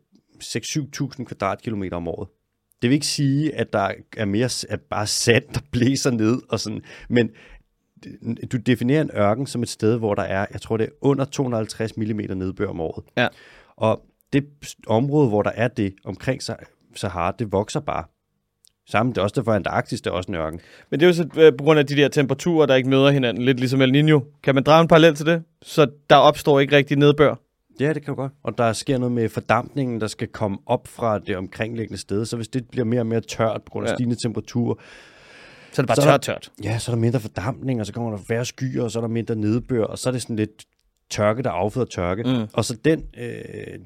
6-7.000 kvadratkilometer om året. Det vil ikke sige, at der er mere at bare sand, der blæser ned og sådan, men du definerer en ørken som et sted, hvor der er, jeg tror det er under 250 mm nedbør om året. Ja. Og det område, hvor der er det omkring Sa- Sahara, det vokser bare. Samme, det er også derfor, at Antarktis det er også en ørken. Men det er jo så øh, på grund af de der temperaturer, der ikke møder hinanden, lidt ligesom El Niño. Kan man drage en parallel til det? Så der opstår ikke rigtig nedbør. Ja, det kan du godt. Og der sker noget med fordampningen, der skal komme op fra det omkringliggende sted. Så hvis det bliver mere og mere tørt på grund af Ja. ja. stigende temperaturer, Så er det bare Så er der- tørt, tørt. ja, så er der mindre fordampning, og så kommer der færre skyer, og så er der mindre nedbør, og så er det sådan lidt tørke, der afføder tørke. Mm. Og så den øh,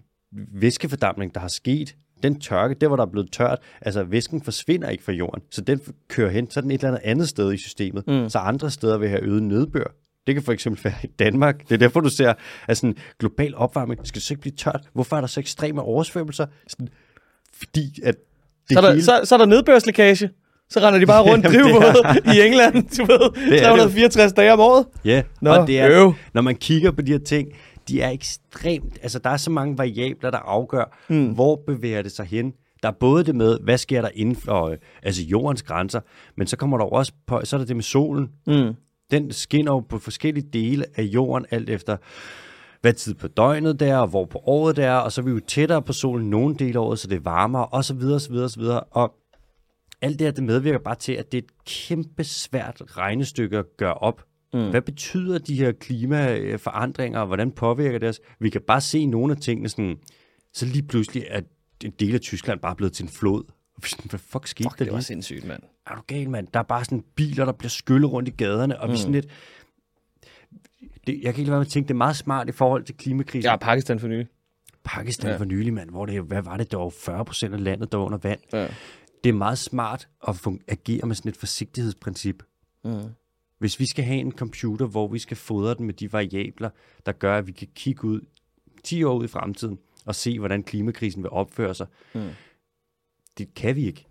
væskefordampning, der har sket, den tørke, der hvor der er blevet tørt, altså væsken forsvinder ikke fra jorden, så den kører hen, så er den et eller andet andet sted i systemet, mm. så andre steder vil have øget nedbør. Det kan for eksempel være i Danmark. Det er derfor, du ser, at sådan, global opvarmning skal det så ikke blive tørt. Hvorfor er der så ekstreme oversvømmelser? Sådan, fordi at det Så er, der, hele... så, så er der nedbørslækage. Så render de bare rundt Jamen, det drivvåde i England, du ved, det jo. 364 dage om året. Ja, Nå, og det er, øv. når man kigger på de her ting, de er ekstremt, altså der er så mange variabler, der afgør, mm. hvor bevæger det sig hen. Der er både det med, hvad sker der inden for øh, altså jordens grænser, men så kommer der jo også på, så er der det med solen. Mm. Den skinner jo på forskellige dele af jorden, alt efter hvad tid på døgnet det er, og hvor på året det er, og så er vi jo tættere på solen nogle dele af året, så det er varmere, og så videre, så videre, så videre. Og alt det her, det medvirker bare til, at det er et kæmpe svært regnestykke at gøre op. Mm. Hvad betyder de her klimaforandringer, og hvordan påvirker det os? Vi kan bare se nogle af tingene sådan, så lige pludselig er en del af Tyskland bare blevet til en flod. Og vi er sådan, Hvad fuck skete fuck, der lige? sindssygt, mand. er du gal, mand? Der er bare sådan biler, der bliver skyllet rundt i gaderne, og mm. vi er sådan lidt... Det, jeg kan ikke lade være med at tænke, det er meget smart i forhold til klimakrisen. Jeg er Pakistan for nylig. Pakistan ja. for nylig, mand, hvor det, hvad var det, der var 40 procent af landet, der var under vand. Ja. Det er meget smart at fun- agere med sådan et forsigtighedsprincip. Mm. Hvis vi skal have en computer, hvor vi skal fodre den med de variabler, der gør, at vi kan kigge ud 10 år ud i fremtiden og se, hvordan klimakrisen vil opføre sig, Mm. det kan vi ikke.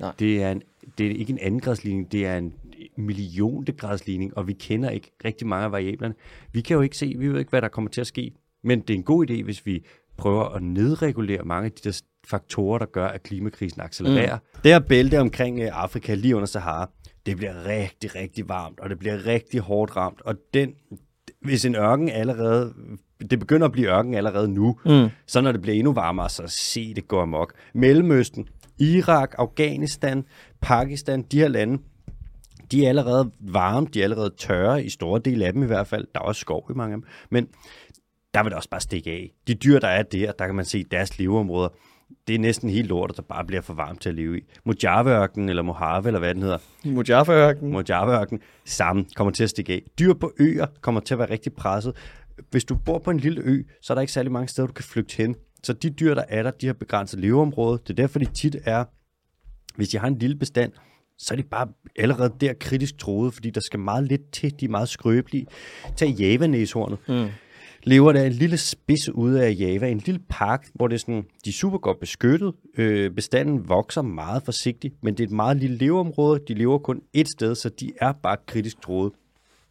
Nej. Det, er en, det er ikke en anden gradsligning, det er en millionte gradsligning, og vi kender ikke rigtig mange af variablerne. Vi kan jo ikke se, vi ved ikke, hvad der kommer til at ske, men det er en god idé, hvis vi prøver at nedregulere mange af de der faktorer, der gør, at klimakrisen accelererer. Mm. Det her bælte omkring øh, Afrika lige under Sahara, det bliver rigtig, rigtig varmt, og det bliver rigtig hårdt ramt, og den, hvis en ørken allerede, det begynder at blive ørken allerede nu, mm. så når det bliver endnu varmere, så se det gå amok. Mellemøsten, Irak, Afghanistan, Pakistan, de her lande, de er allerede varme, de er allerede tørre i store dele af dem i hvert fald. Der er også skov i mange af dem. Men der vil det også bare stikke af. De dyr, der er der, der kan man se deres leveområder. Det er næsten helt lort, der bare bliver for varmt til at leve i. Mojaveørken, eller Mojave, eller hvad den hedder, Mojave-ørken. Mojave-ørken, sammen kommer til at stikke af. Dyr på øer kommer til at være rigtig presset. Hvis du bor på en lille ø, så er der ikke særlig mange steder, du kan flygte hen. Så de dyr, der er der, de har begrænset leveområde. Det er derfor, de tit er, hvis de har en lille bestand, så er de bare allerede der kritisk troet, fordi der skal meget lidt til, de er meget skrøbelige. Tag javanæshornet. Mm. Lever der en lille spids ude af Java, en lille park, hvor det er sådan, de er super godt beskyttet. Øh, bestanden vokser meget forsigtigt, men det er et meget lille leveområde. De lever kun et sted, så de er bare kritisk troet.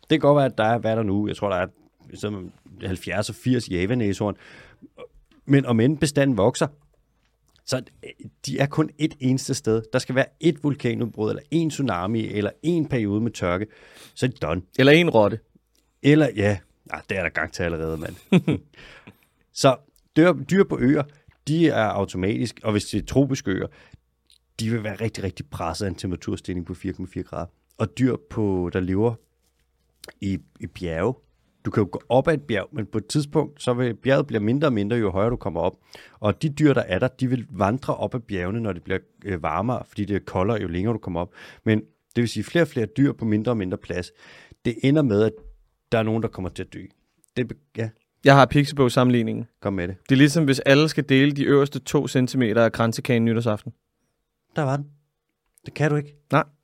Det kan godt være, at der er, hvad er der nu? Jeg tror, der er sådan 70 og 80 javanæshorn. Men om end bestanden vokser, så øh, de er kun et eneste sted. Der skal være et vulkanudbrud, eller en tsunami, eller en periode med tørke. Så er de done. Eller en rotte. Eller ja, ah, det er der gang til allerede, mand. så dyr, dyr på øer, de er automatisk, og hvis det er tropiske øer, de vil være rigtig, rigtig presset af en temperaturstigning på 4,4 grader. Og dyr, på, der lever i, i bjerge, du kan jo gå op ad et bjerg, men på et tidspunkt, så vil bjerget bliver mindre og mindre, jo højere du kommer op. Og de dyr, der er der, de vil vandre op ad bjergene, når det bliver øh, varmere, fordi det er koldere, jo længere du kommer op. Men det vil sige flere og flere dyr på mindre og mindre plads. Det ender med, at der er nogen, der kommer til at dø. Det, be- ja, Jeg har Pixabo-sammenligningen. kom med det. Det er ligesom, hvis alle skal dele de øverste 2 cm af kransekagen nytårsaften. Der var den. Det kan du ikke. Nej.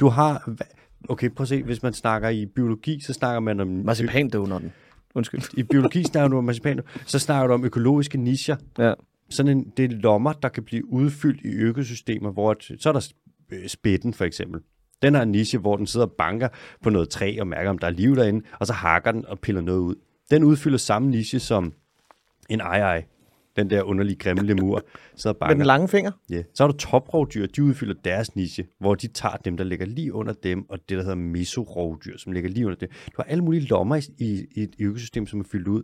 Du har... hva- Okay, prøv at se. Hvis man snakker i biologi, så snakker man om... Marcipandonutten. Undskyld. I biologi snakker du om marcipan. Så snakker du om økologiske nischer. Ja. sådan en, det er lommer, der kan blive udfyldt i økosystemer, hvor et, så er der øh, spætten for eksempel. Den har en niche, hvor den sidder og banker på noget træ og mærker, om der er liv derinde, og så hakker den og piller noget ud. Den udfylder samme niche som en ej den der underlige grimme lemur, sidder og Med den banker. lange finger. Ja. Så har du toprovdyr, de udfylder deres niche, hvor de tager dem, der ligger lige under dem, og det, der hedder mesorovdyr, som ligger lige under dem. Du har alle mulige lommer i, i, i et økosystem, som er fyldt ud,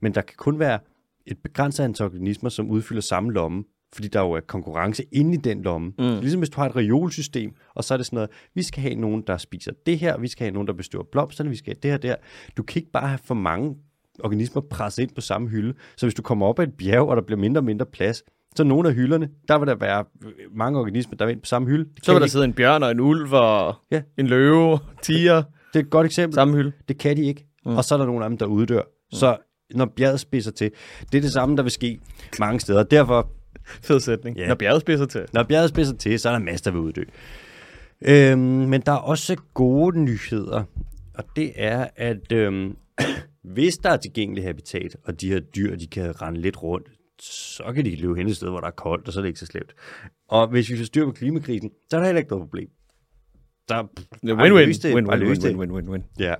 men der kan kun være et begrænset antal organismer, som udfylder samme lomme, fordi der jo er konkurrence inde i den lomme. Mm. Ligesom hvis du har et reolsystem, og så er det sådan noget, vi skal have nogen, der spiser det her, vi skal have nogen, der bestøver blomsterne, vi skal have det her, der. Du kan ikke bare have for mange organismer presset ind på samme hylde. Så hvis du kommer op ad et bjerg, og der bliver mindre og mindre plads, så nogle af hylderne, der vil der være øh, mange organismer, der vil ind på samme hylde. Det, Så vil kan de der ikke. sidde en bjørn og en ulv og Ja. en løve, tiger, det er et godt eksempel. samme hylde. Det kan de ikke. Mm. Og så er der nogle af dem, der uddør. Mm. Så når bjerget spidser til, det er det samme, der vil ske mange steder. Derfor, Fed sætning. Ja. Når bjerget spidser til. når bjerget spidser til, så er der masser, der vil uddø. Øhm, men der er også gode nyheder, og det er, at øhm, hvis der er tilgængelig habitat, og de her dyr, de kan rende lidt rundt, så kan de løbe hen et sted, hvor der er koldt, og så er det ikke så slemt. Og hvis vi får styr på klimakrisen, så er der heller ikke noget problem. Der Win-win. Bare løs det. Bare løs det. Win-win-win-win-win. Ja.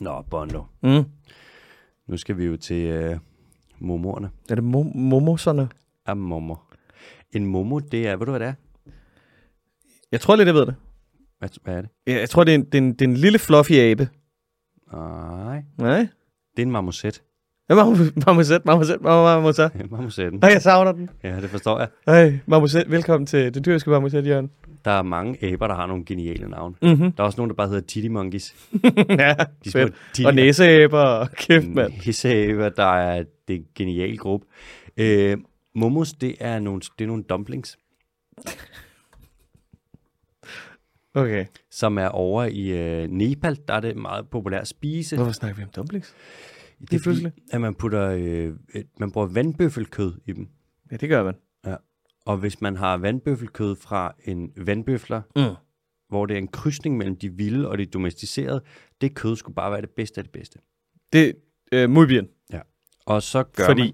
Nå, Bondo. Mm. Nu skal vi jo til øh, momorerne. Er det mo- momoserne? Af momor. En momo, det er, ved du hvad det er? Jeg tror lidt, jeg ved det. Hvad, hvad er det? Ja, Jeg tror, det er en, det er en, det er en lille fluffy abe. Nej, Nej? det er en marmoset. Ja, marmo- marmoset, marmoset, marmo- marmoset. Marmosetten. Nej, jeg savner den. Ja, det forstår jeg. Ej, marmoset, velkommen til det dyrske marmoset, Jørgen. Der er mange aber, der har nogle geniale navne. Mhm. Der er også nogen, der bare hedder titty monkeys. ja, De små fedt. tiger. Og næseæber og kæft, mand. Hisseaber, der er det er en genial gruppe. Øh, momos, det er, nogle, det er nogle dumplings, Okay. som er over i øh, Nepal. Der er det meget populært at spise. Hvorfor snakker vi om dumplings? Det er fordi, pludselig? at man, putter, øh, et- man bruger vandbøffelkød i dem. Ja, det gør man. Ja. Og hvis man har vandbøffelkød fra en vandbøfler, Mm. hvor det er en krydsning mellem de vilde og de domesticerede, det kød skulle bare være det bedste af det bedste. Det er øh, muy bien. Og så gør Fordi? man...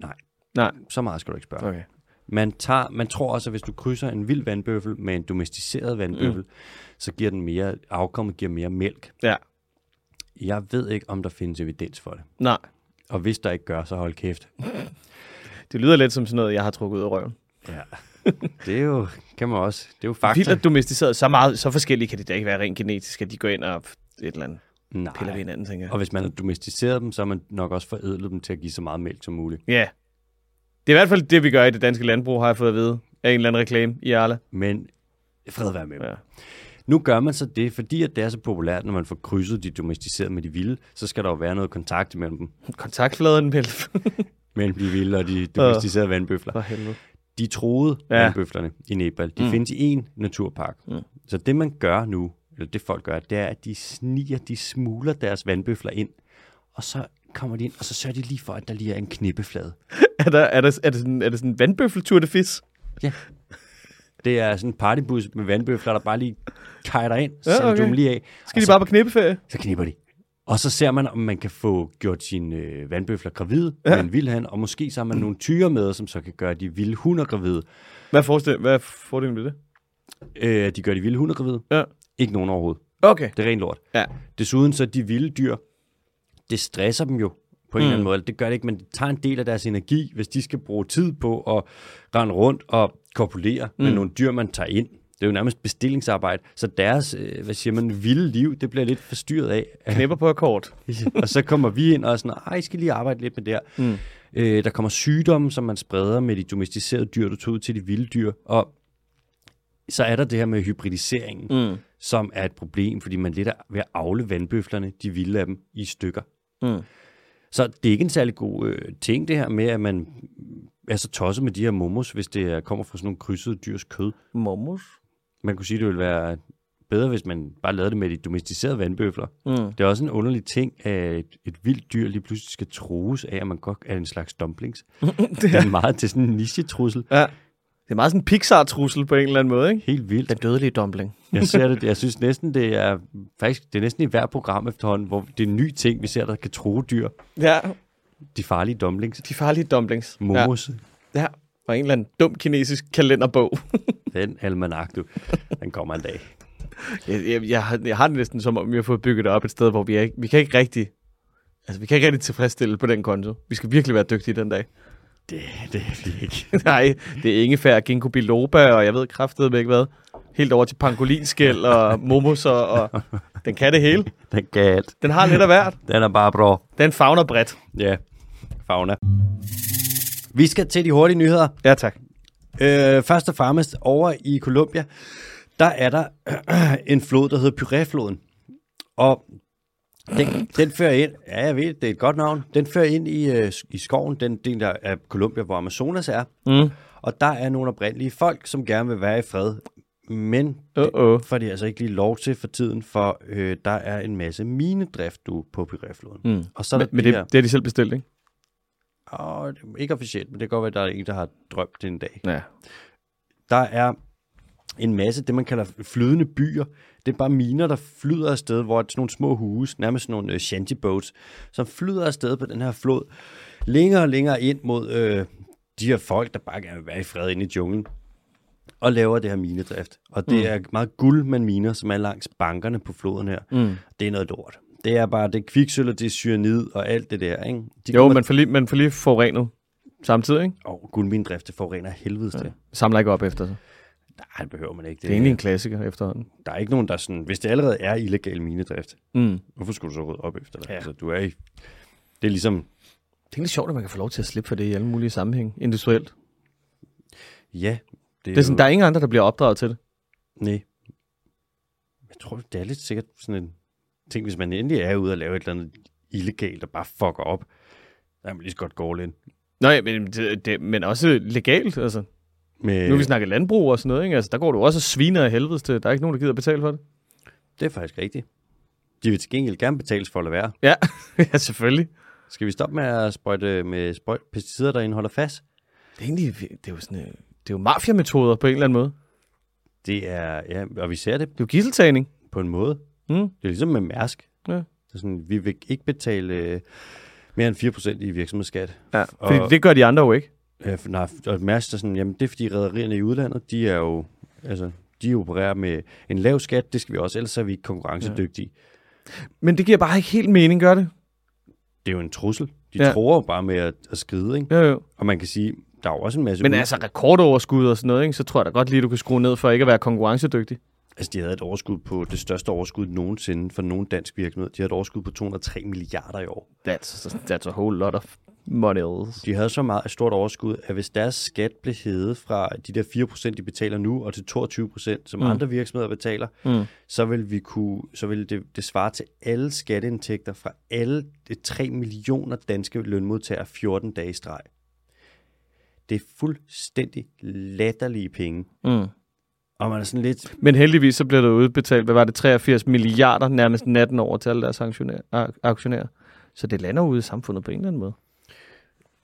Nej. Nej. Så meget skal du ikke spørge. Okay. Man, tager, man tror også, at hvis du krydser en vild vandbøffel med en domesticeret vandbøffel, mm. så giver den mere, afkommet giver mere mælk. Ja. Jeg ved ikke, om der findes evidens for det. Nej. Og hvis der ikke gør, så hold kæft. Det lyder lidt som sådan noget, jeg har trukket ud af røven. Ja. Det er jo, kan man også, det er jo Vildt fakta. at domesticeret så meget, så forskellige kan det da ikke være rent genetisk, at de går ind og et eller andet piller ved Nej. hinanden, tænker jeg. Og hvis man har domesticeret dem, så har man nok også forædlet dem til at give så meget mælk som muligt. Ja. Det er i hvert fald det, vi gør i det danske landbrug, har jeg fået at vide af en eller anden reklame i Arla. Men fred være med dem. Ja. Nu gør man så det, fordi at det er så populært, når man får krydset de domesticerede med de vilde, så skal der jo være noget kontakt mellem dem, Kontaktfladen med mellem de vilde og de domesticerede vandbøfler. For helvede. De troede Ja. ja. vandbøflerne i Nepal. De mm. findes i én naturpark. Mm. Så det man gør nu, eller det folk gør, det er, at de sniger, de smuler deres vandbøfler ind, og så kommer de ind, og så sørger de lige for, at der lige er en knippeflade. Er, der, er, der, er, det sådan, er det sådan en vandbøffeltur de fis? Ja. Det er sådan en partybus med vandbøfler, der bare lige kajter ind, så Ja, ja, okay. okay. du dem lige af, Skal og de så, bare på knippeferie? så knipper de. Og så ser man, om man kan få gjort sine øh, vandbøfler gravide ja. med en vild han, og måske så har man nogle tyre med, som så kan gøre de vilde hunder gravide. Hvad er, forestil, hvad er fordelen ved det? Øh, de gør de vilde hunder gravide. Ja. Ikke nogen overhovedet. Okay. Det er ren lort. Ja. Desuden så de vilde dyr, det stresser dem jo på en mm. eller anden måde. Det gør det ikke, men det tager en del af deres energi, hvis de skal bruge tid på at rende rundt og kopulere mm. med nogle dyr, man tager ind. Det er jo nærmest bestillingsarbejde, så deres, øh, hvad siger man, vilde liv, det bliver lidt forstyrret af. Knipper på akkord. og så kommer vi ind og er sådan, ej, I skal lige arbejde lidt med det her. Mm. Øh, der kommer sygdomme, som man spreder med de domesticerede dyr, du tog ud til de vilde dyr, og så er der det her med hybridiseringen Mm. som er et problem, fordi man lidt er ved at afle vandbøflerne, de vilde af dem, i stykker. Mm. Så det er ikke en særlig god øh, ting, det her med, at man er så tosset med de her momos, hvis det er- kommer fra sådan nogle krydsede dyrs kød. Momos? Man kunne sige, det ville være bedre, hvis man bare lavede det med de domesticerede vandbøfler. Mm. Det er også en underlig ting, at et, et vildt dyr lige pludselig skal trues af, at man godt er en slags dumplings. det er meget til sådan en nichetrussel. Ja. Det er meget sådan en Pixar-trussel på en eller anden måde, ikke? Helt vildt. Den dødelige dumpling. Jeg ser det. Jeg synes næsten, det er faktisk, det er næsten i hver program efterhånden, hvor det er en ny ting, vi ser, der kan tro dyr. Ja, De farlige dumplings. de farlige dumplings. Momos. Ja. Ja. ja. Og en eller anden dum kinesisk kalenderbog. Den almanak, du. Den kommer en dag. jeg, jeg, jeg, har, jeg har det næsten som om, vi har fået bygget det op et sted, hvor vi, er, ikke- vi kan ikke rigtig Altså, vi kan ikke rigtig tilfredsstille på den konto. Vi skal virkelig være dygtige den dag. Det, det er vi ikke. Nej, det er ingefær, ginkgo biloba, og jeg ved kraftedeme ikke hvad. Helt over til pangolinskæl og momos, og, og den kan det hele. Den kan alt. Den har lidt af hvert. Den er bare bra. Den fagner bredt. Ja, fauna. Vi skal til de hurtige nyheder. Ja, tak. Øh, først og fremmest over i Colombia, der er der en flod, der hedder Pyræfloden. Og den, den fører ind, ja jeg ved, det er et godt navn, den fører ind i, øh, i skoven, den del der af Colombia, hvor Amazonas er. Mm. Og der er nogle oprindelige folk, som gerne vil være i fred, men det Uh-oh. får de altså ikke lige lov til for tiden, for øh, der er en masse minedrift du på Pyræfloden. Mm. Og så er der Men, men de det, her, det har de selv bestilt, ikke? åh, det er ikke officielt, men det kan godt være, at der er en, der har drømt det en dag. Ja. Der er en masse, det man kalder flydende byer. Det er bare miner, der flyder afsted, hvor sådan nogle små huse, nærmest sådan nogle øh, shantyboats, som flyder afsted på den her flod, længere og længere ind mod øh, de her folk, der bare gerne vil være i fred inde i junglen, og laver det her minedrift. Og det mm. er meget guld, man miner, som er langs bankerne på floden her. Mm. Det er noget lort. Det er bare, det er kviksøl, og det er cyanid og alt det der, ikke? De Jo, man får, lige, man får lige forurenet samtidig, ikke? Og guldmindrift, det forurener helvedes ja. det. Samler ikke op efter sig. Nej, det behøver man ikke. Det er egentlig en klassiker efterhånden. der er ikke nogen, der sådan, hvis det allerede er illegal minedrift, Mm. hvorfor skulle du så rydde op efter det? Ja. Altså, du er i, det er ligesom, Det er lidt sjovt, at man kan få lov til at slippe for det i alle mulige sammenhæng, industrielt. Det ja, det er sådan, der er ingen andre, der bliver opdraget til det. Nej. Jeg tror, det er lidt sikkert sådan en ting, hvis man endelig er ude og lave et eller andet illegalt og bare fucker op, der er man lige så godt gå all in. Nå ja, men, det, det, men også legalt, altså. Men Nu har vi snakket landbrug og sådan noget, ikke? Altså, der går du også og sviner af helvedes til. Der er ikke nogen, der gider betale for det. det er faktisk rigtigt. De vil til gengæld gerne betales for at lade være. Ja, ja selvfølgelig. Skal vi stoppe med at sprøjte med sprøjt, pesticider, der indeholder fast? Det er, egentlig, det er jo sådan, øh, det er jo mafiametoder på en eller anden måde. Det er, ja, og vi ser det Det er jo gisseltagning. på en måde. Mm. Det er ligesom med Mærsk. Ja. Det er sådan, vi vil ikke betale øh, mere end 4% i virksomhedsskat. Ja, og- fordi det gør de andre jo ikke. Øh, for- nej, og Mærsk er sådan, jamen det er fordi rædderierne i udlandet, de er jo, altså, de opererer med en lav skat, det skal vi også, ellers er vi ikke konkurrencedygtige. Ja. Men det giver bare ikke helt mening, gør det? Det er jo en trussel. De ja. Ja. tror jo bare med at, at skride, ikke? Jo, jo. Og man kan sige, der er jo også en masse... Men ud- altså rekordoverskud og sådan noget, ikke? så tror jeg da godt lige, du kan skrue ned for ikke at være konkurrencedygtig. altså, de havde et overskud på det største overskud nogensinde for nogen dansk virksomhed. De havde et overskud på 203 milliarder i år. That's, that's a whole lot of money. De havde så meget et stort overskud, at hvis deres skat blev hævet fra de der 4%, de betaler nu, og til 22%, som mm. andre virksomheder betaler, mm. så ville, vi kunne, så ville det, det svare til alle skatteindtægter fra alle de 3 millioner danske lønmodtagere 14 dage i streg. Det er fuldstændig latterlige penge. Mm. Og man er sådan lidt, Men heldigvis så bliver der udbetalt, hvad var det, 83 milliarder nærmest natten over til alle deres aktionærer. ak- aktionærer. Så det lander ude i samfundet på en eller anden måde.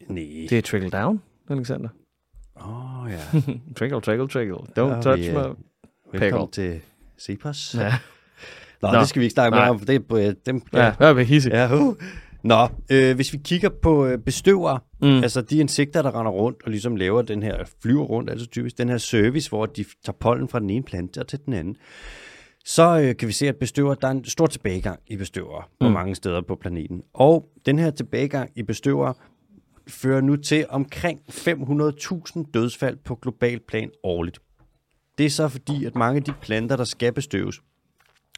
nej. Det er trickle down, Alexander. Åh oh, ja, Trickle, trickle, trickle. Don't Ja, touch vi, yeah. øh, me. velkommen til Cepos. Ja. Nå, Nå. det skal vi ikke snakke mere Nej. om, for det, er- dem, Ja, hør med hisse. Ja, uh. Nå, øh, hvis vi kigger på øh, bestøvere, mm. Mm. altså de insekter, der render rundt og ligesom laver den her, flyver rundt, altså typisk den her service, hvor de f- tager pollen fra den ene plante og til den anden, så øh, kan vi se, at bestøver, der er en stor tilbagegang i bestøvere på mm. mange steder på planeten. Og den her tilbagegang i bestøvere fører nu til omkring 500.000 dødsfald på global plan årligt. Det er så fordi, at mange af de planter, der skal bestøves,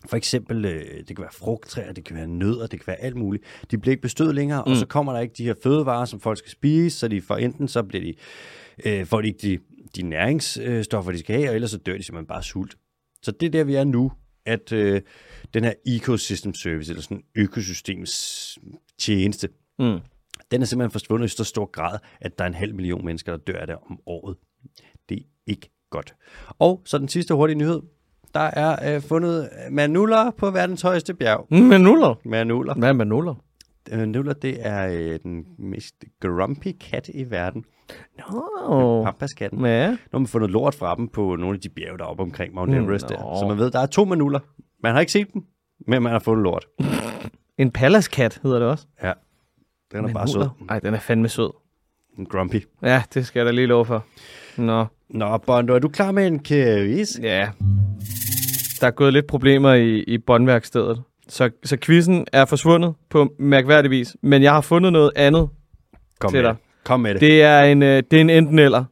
for eksempel, øh, det kan være frugttræer, det kan være nødder, det kan være alt muligt. De bliver ikke bestødt længere, mm. og så kommer der ikke de her fødevarer, som folk skal spise, så de får enten så bliver de, øh, får de ikke de, de næringsstoffer, de skal have, og ellers så dør de simpelthen bare af sult. Så det er der, vi er nu, at øh, den her ecosystem service, eller sådan økosystems tjeneste, Mm. den er simpelthen forsvundet i så stor grad, at der er en halv million mennesker, der dør af det om året. Det er ikke godt. Og så den sidste hurtige nyhed. Der er øh, fundet manuller på verdens højeste bjerg. Mm, Manuller. Manuller. Hvad er manuller? Manuller, det er øh, den mest grumpy kat i verden. Nå. Pampaskatten. Ja. Nu har man fundet lort fra dem på nogle af de bjerge, der er oppe omkring Mount Everest. nå. Der. Så man ved, der er to manuller. Man har ikke set dem, men man har fundet lort. En palaskat hedder det også. Ja. Den er bare sød. Nej, den er fandme sød. Den er Grumpy. Ja, det skal jeg da lige love for. Nå, Nå, Bondo, er du klar med en quiz? ja. Der er gået lidt problemer i, i båndværkstedet. Så, så quizzen er forsvundet på mærkværdig vis, men jeg har fundet noget andet. Kom Til med dig. det. Kom med det. det. Det er en, øh, det er en enten eller.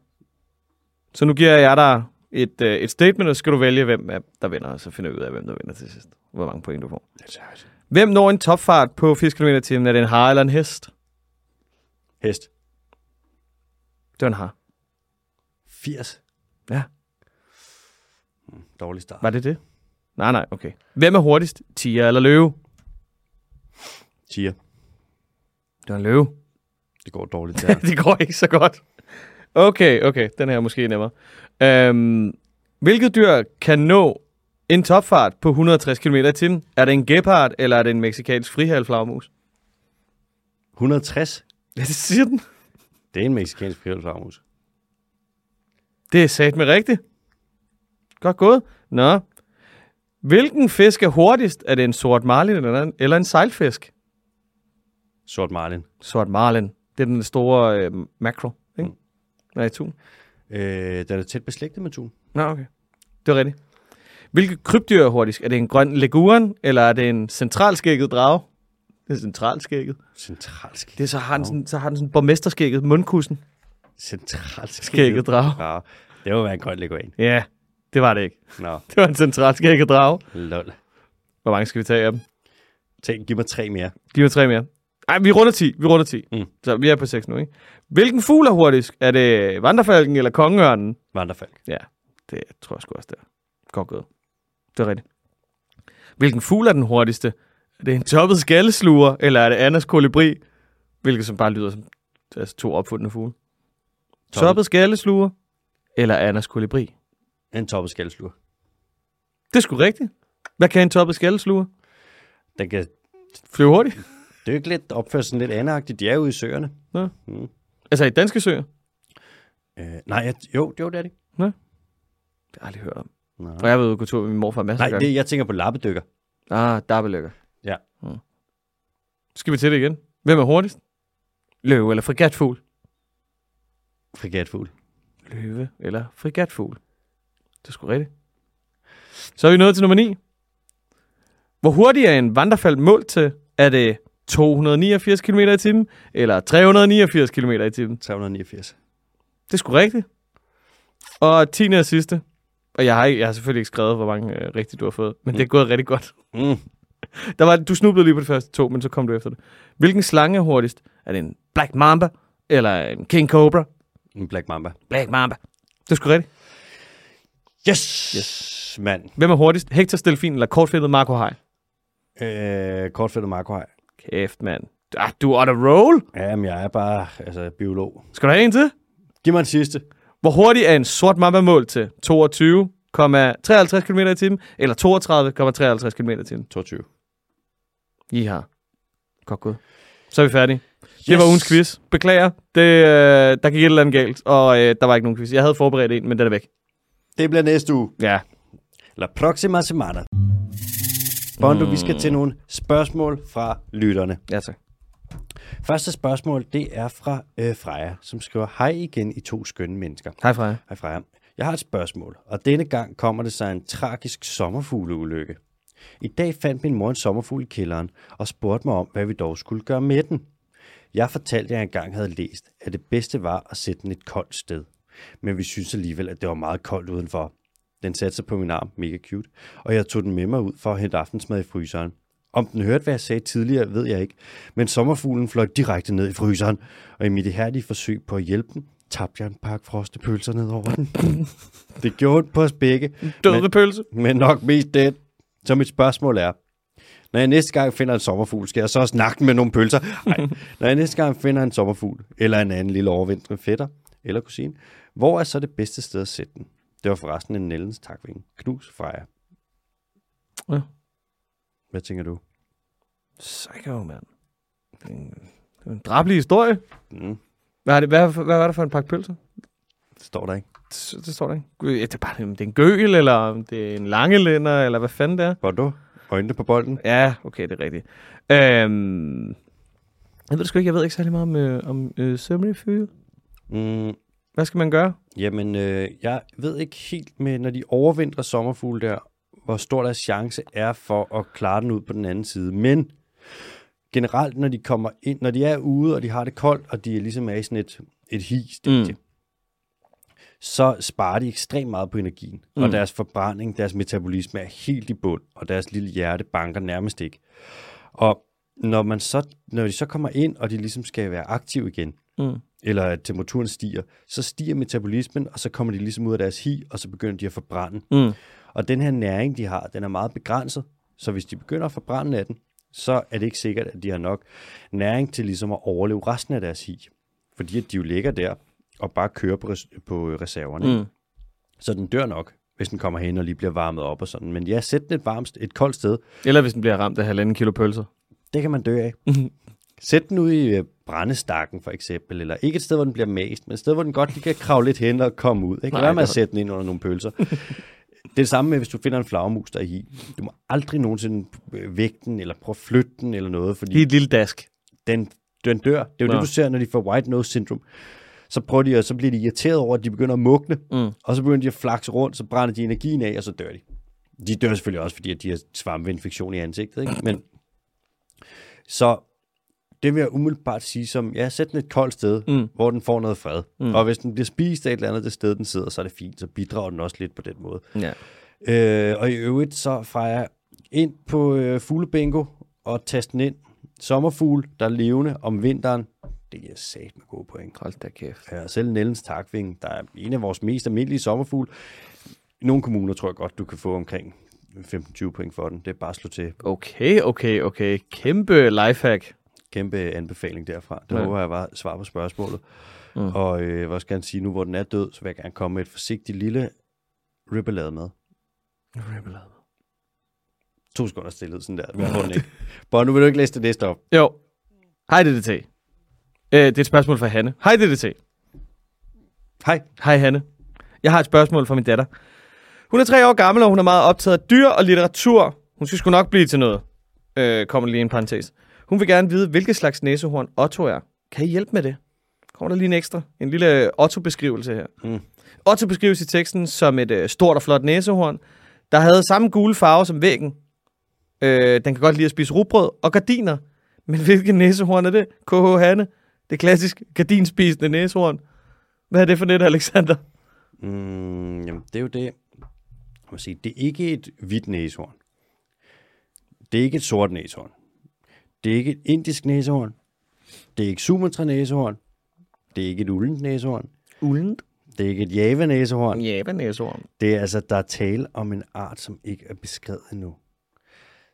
Så nu giver jeg dig et, øh, et statement, og så skal du vælge, hvem øh, der vinder, og så finder vi ud af, hvem der vinder til sidst. Hvor mange point du får. Hvem når en topfart på 80 km i timen? Er det en har eller en hest? Hest. Det var en har. 80. Ja. Hmm, Dårlig start. Var det det? Nej, nej, okay. Hvem er hurtigst? Tiger eller løve? Tiger. Det var en løve. Det går dårligt der. det går ikke så godt. Okay, okay. Den her er måske nemmere. Øhm, hvilket dyr kan nå en topfart på 160 km i timen? Er det en gepard, eller er det en meksikansk frihalflagmus? 160. Ja, det siger den. Det er en meksikansk friluftsarmus. Det er sat med rigtigt. Godt gået. Nå. Hvilken fisk er hurtigst? Er det en sort marlin eller en, eller en sejlfisk? Sort Marlin. Sort marlin. Det er den store øh, mackerel, ikke? Mm. Nej, tun. Øh, den er tæt beslægtet med tun. Nå, okay. Det er rigtigt. Hvilket krybdyr er hurtigst? Er det en grøn leguren, eller er det en centralskægget drage? Det er centralskægget. Centralsk. Det er, så har den sådan, så har den sådan bormesterskægget mundkussen. Centralsk. Skægget drage. Ja, det må være en grøn leguan. Ja, det var det ikke. Nå, Det var en centralskægget drage. lol. Hvor mange skal vi tage af dem? Tænk, giv mig tre mere. De var tre mere. Ej, vi runder 10. Vi runder 10. Mm. Mm. Så vi er på 6 nu, ikke? Hvilken fugl er hurtigst? Er det vandrefalken eller kongeørnen? Vandrefalk. Ja, det tror jeg sgu også, det er. Godt gået. Det er rigtigt. Hvilken fugl er den hurtigste? Er det en toppet skallesluger, eller er det Annas kolibri? Hvilket som bare lyder som altså to opfundne fugle. Toppet, toppet skallesluger, eller Annas kolibri? En toppet skaldslur. Det er sgu rigtigt. Hvad kan en toppet skallesluger? Den kan Flyve hurtigt? dykke lidt, opføre sig lidt anagtigt. De er ude i søerne. Altså i danske søer? Det Øh, nej, jeg, jo, jo, det er de. har jeg aldrig hørt om. Nej, Og jeg ved ude på tur med min morfar masser nej af gange. det, jeg tænker på lappedykker. Ah, dabbelykker. Ja. Mm. Skal vi til det igen? Hvem er hurtigst? Løve eller frigatfugl? Frigatfugl. løve eller frigatfugl. Det er sgu rigtigt. Så er vi nået til nummer 9. Hvor hurtigt er en vandrefald målt til? Er det 289 km i timen, eller 389 km i timen? 389. Det er sgu rigtigt. Og 10. og sidste. Og jeg har, ikke, jeg har selvfølgelig ikke skrevet, hvor mange øh, rigtigt du har fået, men det er gået rigtig godt. Mm. Der var, du snublede lige på de første to, men så kom du efter det. Hvilken slange er hurtigst? Er det en Black Mamba, eller en King Cobra? En Black Mamba. Black Mamba. Det er sgu rigtigt. Yes! Yes, mand. Hvem er hurtigst? Hector Stelfin eller kortfilmet Marco Hej? Øh, kortfældet Marco her. Kæft, mand. Ah, du er on a roll. Jamen, jeg er bare altså, biolog. Skal du have en til? Giv mig en sidste. Hvor hurtigt er en sort mamba mål til 22,53 km i timen, eller 32,53 km i timen? 22. Yes. I har. Godt gået. Så er vi færdige. Det var ugens quiz. Beklager. Det, øh, der gik et eller andet galt, og øh, der var ikke nogen quiz. Jeg havde forberedt en, men den er væk. Det bliver næste uge. Ja. La proxima semana. Bondo, mm. vi skal til nogle spørgsmål fra lytterne. Ja, tak. Første spørgsmål, det er fra øh, Freja, som skriver, Hej igen, I to skønne mennesker. Hej, Freja. Hej Freja. Jeg har et spørgsmål, og denne gang kommer det sig en tragisk sommerfugleulykke. I dag fandt min mor en sommerfugl i kælderen og spurgte mig om, hvad vi dog skulle gøre med den. Jeg fortalte, at jeg engang havde læst, at det bedste var at sætte den et koldt sted. Men vi synes alligevel, at det var meget koldt udenfor. Den satte sig på min arm, mega cute, og jeg tog den med mig ud for at hente aftensmad i fryseren. Om den hørte, hvad jeg sagde tidligere, ved jeg ikke, men sommerfuglen fløj direkte ned i fryseren, og i mit ihærdige forsøg på at hjælpe den, tabte jeg en pakke frostepølser ned over den. Det gjorde ondt på os begge, Døde men... pølse. men nok mest det. Så mit spørgsmål er, når jeg næste gang finder en sommerfugl, skal jeg så snakke med nogle pølser? Nej. Når jeg næste gang finder en sommerfugl, eller en anden lille overvintret fætter, eller kusine, hvor er så det bedste sted at sætte den? Det var forresten en Nellens takving. Knus fra jer. Ja. Hvad tænker du? Psycho, mand. Det er en, det er en drabelig historie. Mm, Hvad, er det, hvad, hvad var det for en pakke pølser? det står der ikke. Det, det står der ikke. Gud, ja, Det er bare, om det er en gøl, eller om det er en langelænder, eller hvad fanden det er. Hvor er du? Øjnene på bolden? Ja, okay, det er rigtigt. Øhm, jeg ved det sgu ikke, jeg ved ikke særlig meget om, øh, om øh, sømmerifyre. Mm, Hvad skal man gøre? jamen, øh, jeg ved ikke helt med, når de overvintrer sommerfugle der, hvor stor deres chance er for at klare den ud på den anden side. Men generelt, når de kommer ind, når de er ude, og de har det koldt, og de er ligesom er i sådan et, et his, mm. så sparer de ekstremt meget på energien. Mm. Og deres forbrænding, deres metabolisme er helt i bund, og deres lille hjerte banker nærmest ikke. Og når, man så, når de så kommer ind, og de ligesom skal være aktive igen, mm. eller at temperaturen stiger, så stiger metabolismen, og så kommer de ligesom ud af deres hi, og så begynder de at forbrænde. Mm. Og den her næring, de har, den er meget begrænset, så hvis de begynder at forbrænde af den, så er det ikke sikkert, at de har nok næring til ligesom at overleve resten af deres hi. Fordi at de jo ligger der og bare kører på, res- på reserverne. Mm. Så den dør nok, hvis den kommer hen og lige bliver varmet op og sådan. Men ja, sæt den et varmt, et koldt sted. Eller hvis den bliver ramt af halvanden kilo pølser. Det kan man dø af. Mhm. Sæt den ud i øh, brændestakken for eksempel, eller ikke et sted, hvor den bliver mast, men et sted, hvor den godt lige kan kravle lidt hen og komme ud. Ikke? Lad Nej, være med at det- sætte den ind under nogle pølser. det er det samme med, hvis du finder en flagermus, der er i. Du må aldrig nogensinde øh, vække den, eller prøve at flytte den, eller noget, fordi Lige et lille dask. den, den dør. Det er jo Nå. det, du ser, når de får white nose syndrome. Så, prøver de, og så bliver de irriteret over, at de begynder at mugne, mm. og så begynder de at flakse rundt, så brænder de energien af, og så dør de. De dør selvfølgelig også, fordi at de har svampeinfektion i ansigtet. Ikke? Men, så det vil jeg umiddelbart sige som, ja, sæt den et koldt sted, mm. hvor den får noget fred. Mm. Og hvis den bliver spist af et eller andet det sted, den sidder, så er det fint. Så bidrager den også lidt på den måde. Ja. Øh, og i øvrigt så fejrer jeg ind på øh, fuglebingo og tast den ind. Sommerfugl, der er levende om vinteren. Det giver sat med gode point. Hold da kæft. Ja, og selv Nellens takving, der er en af vores mest almindelige sommerfugl. I nogle kommuner tror jeg godt, du kan få omkring 15-20 point for den. Det er bare at slå til. Okay, okay, okay. Kæmpe lifehack. Kæmpe anbefaling derfra. Det ja. håber jeg var svar på spørgsmålet. Mm. Og øh, hvor skal jeg sige, nu hvor den er død, så vil jeg gerne komme med et forsigtigt lille ribbalade med. To sekunder stillhed, sådan der. Jeg får den ikke. Bare nu vil du ikke læse det næste op. Jo. Hej DDT. Øh, det er et spørgsmål fra Hanne. Hej DDT. Hej. Hej Hanne. Jeg har et spørgsmål fra min datter. Hun er tre år gammel, og hun er meget optaget af dyr og litteratur. Hun skal sgu nok blive til noget. Øh, kommer lige en parentes. Hun vil gerne vide, hvilket slags næsehorn Otto er. Kan I hjælpe med det? Kommer der lige en ekstra? En lille øh, Otto-beskrivelse her. Mm. Otto beskrives i teksten som et øh, stort og flot næsehorn, der havde samme gule farve som væggen. Øh, den kan godt lide at spise rugbrød og gardiner. Men hvilket næsehorn er det? KH Hanne. Det klassisk gardinspisende næsehorn. Hvad er det for net, Alexander? Mm, jamen, det er jo det. Jeg må sige, det er ikke et hvidt næsehorn. Det er ikke et sort næsehorn. Det er ikke et indisk næsehorn. Det er ikke Sumatra næsehorn. Det er ikke et uldent næsehorn. Uldent. Det er ikke et java Mm. næsehorn. Jabanæsorm. Det er altså, der er tale om en art, som ikke er beskrevet endnu.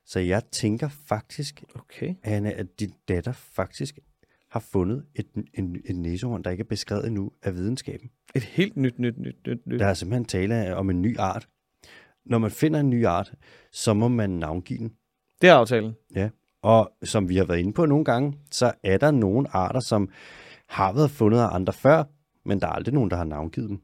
Så jeg tænker faktisk, Okay. Anna, at din datter faktisk har fundet et, en, et næsehorn, der ikke er beskrevet endnu af videnskaben. Et helt nyt, nyt, nyt, nyt, nyt. Der er simpelthen tale om en ny art. Når man finder en ny art, så må man navngive den. Det er aftalen. Ja. Og som vi har været inde på nogle gange, så er der nogle arter, som har været fundet af andre før, men der er aldrig nogen, der har navngivet dem.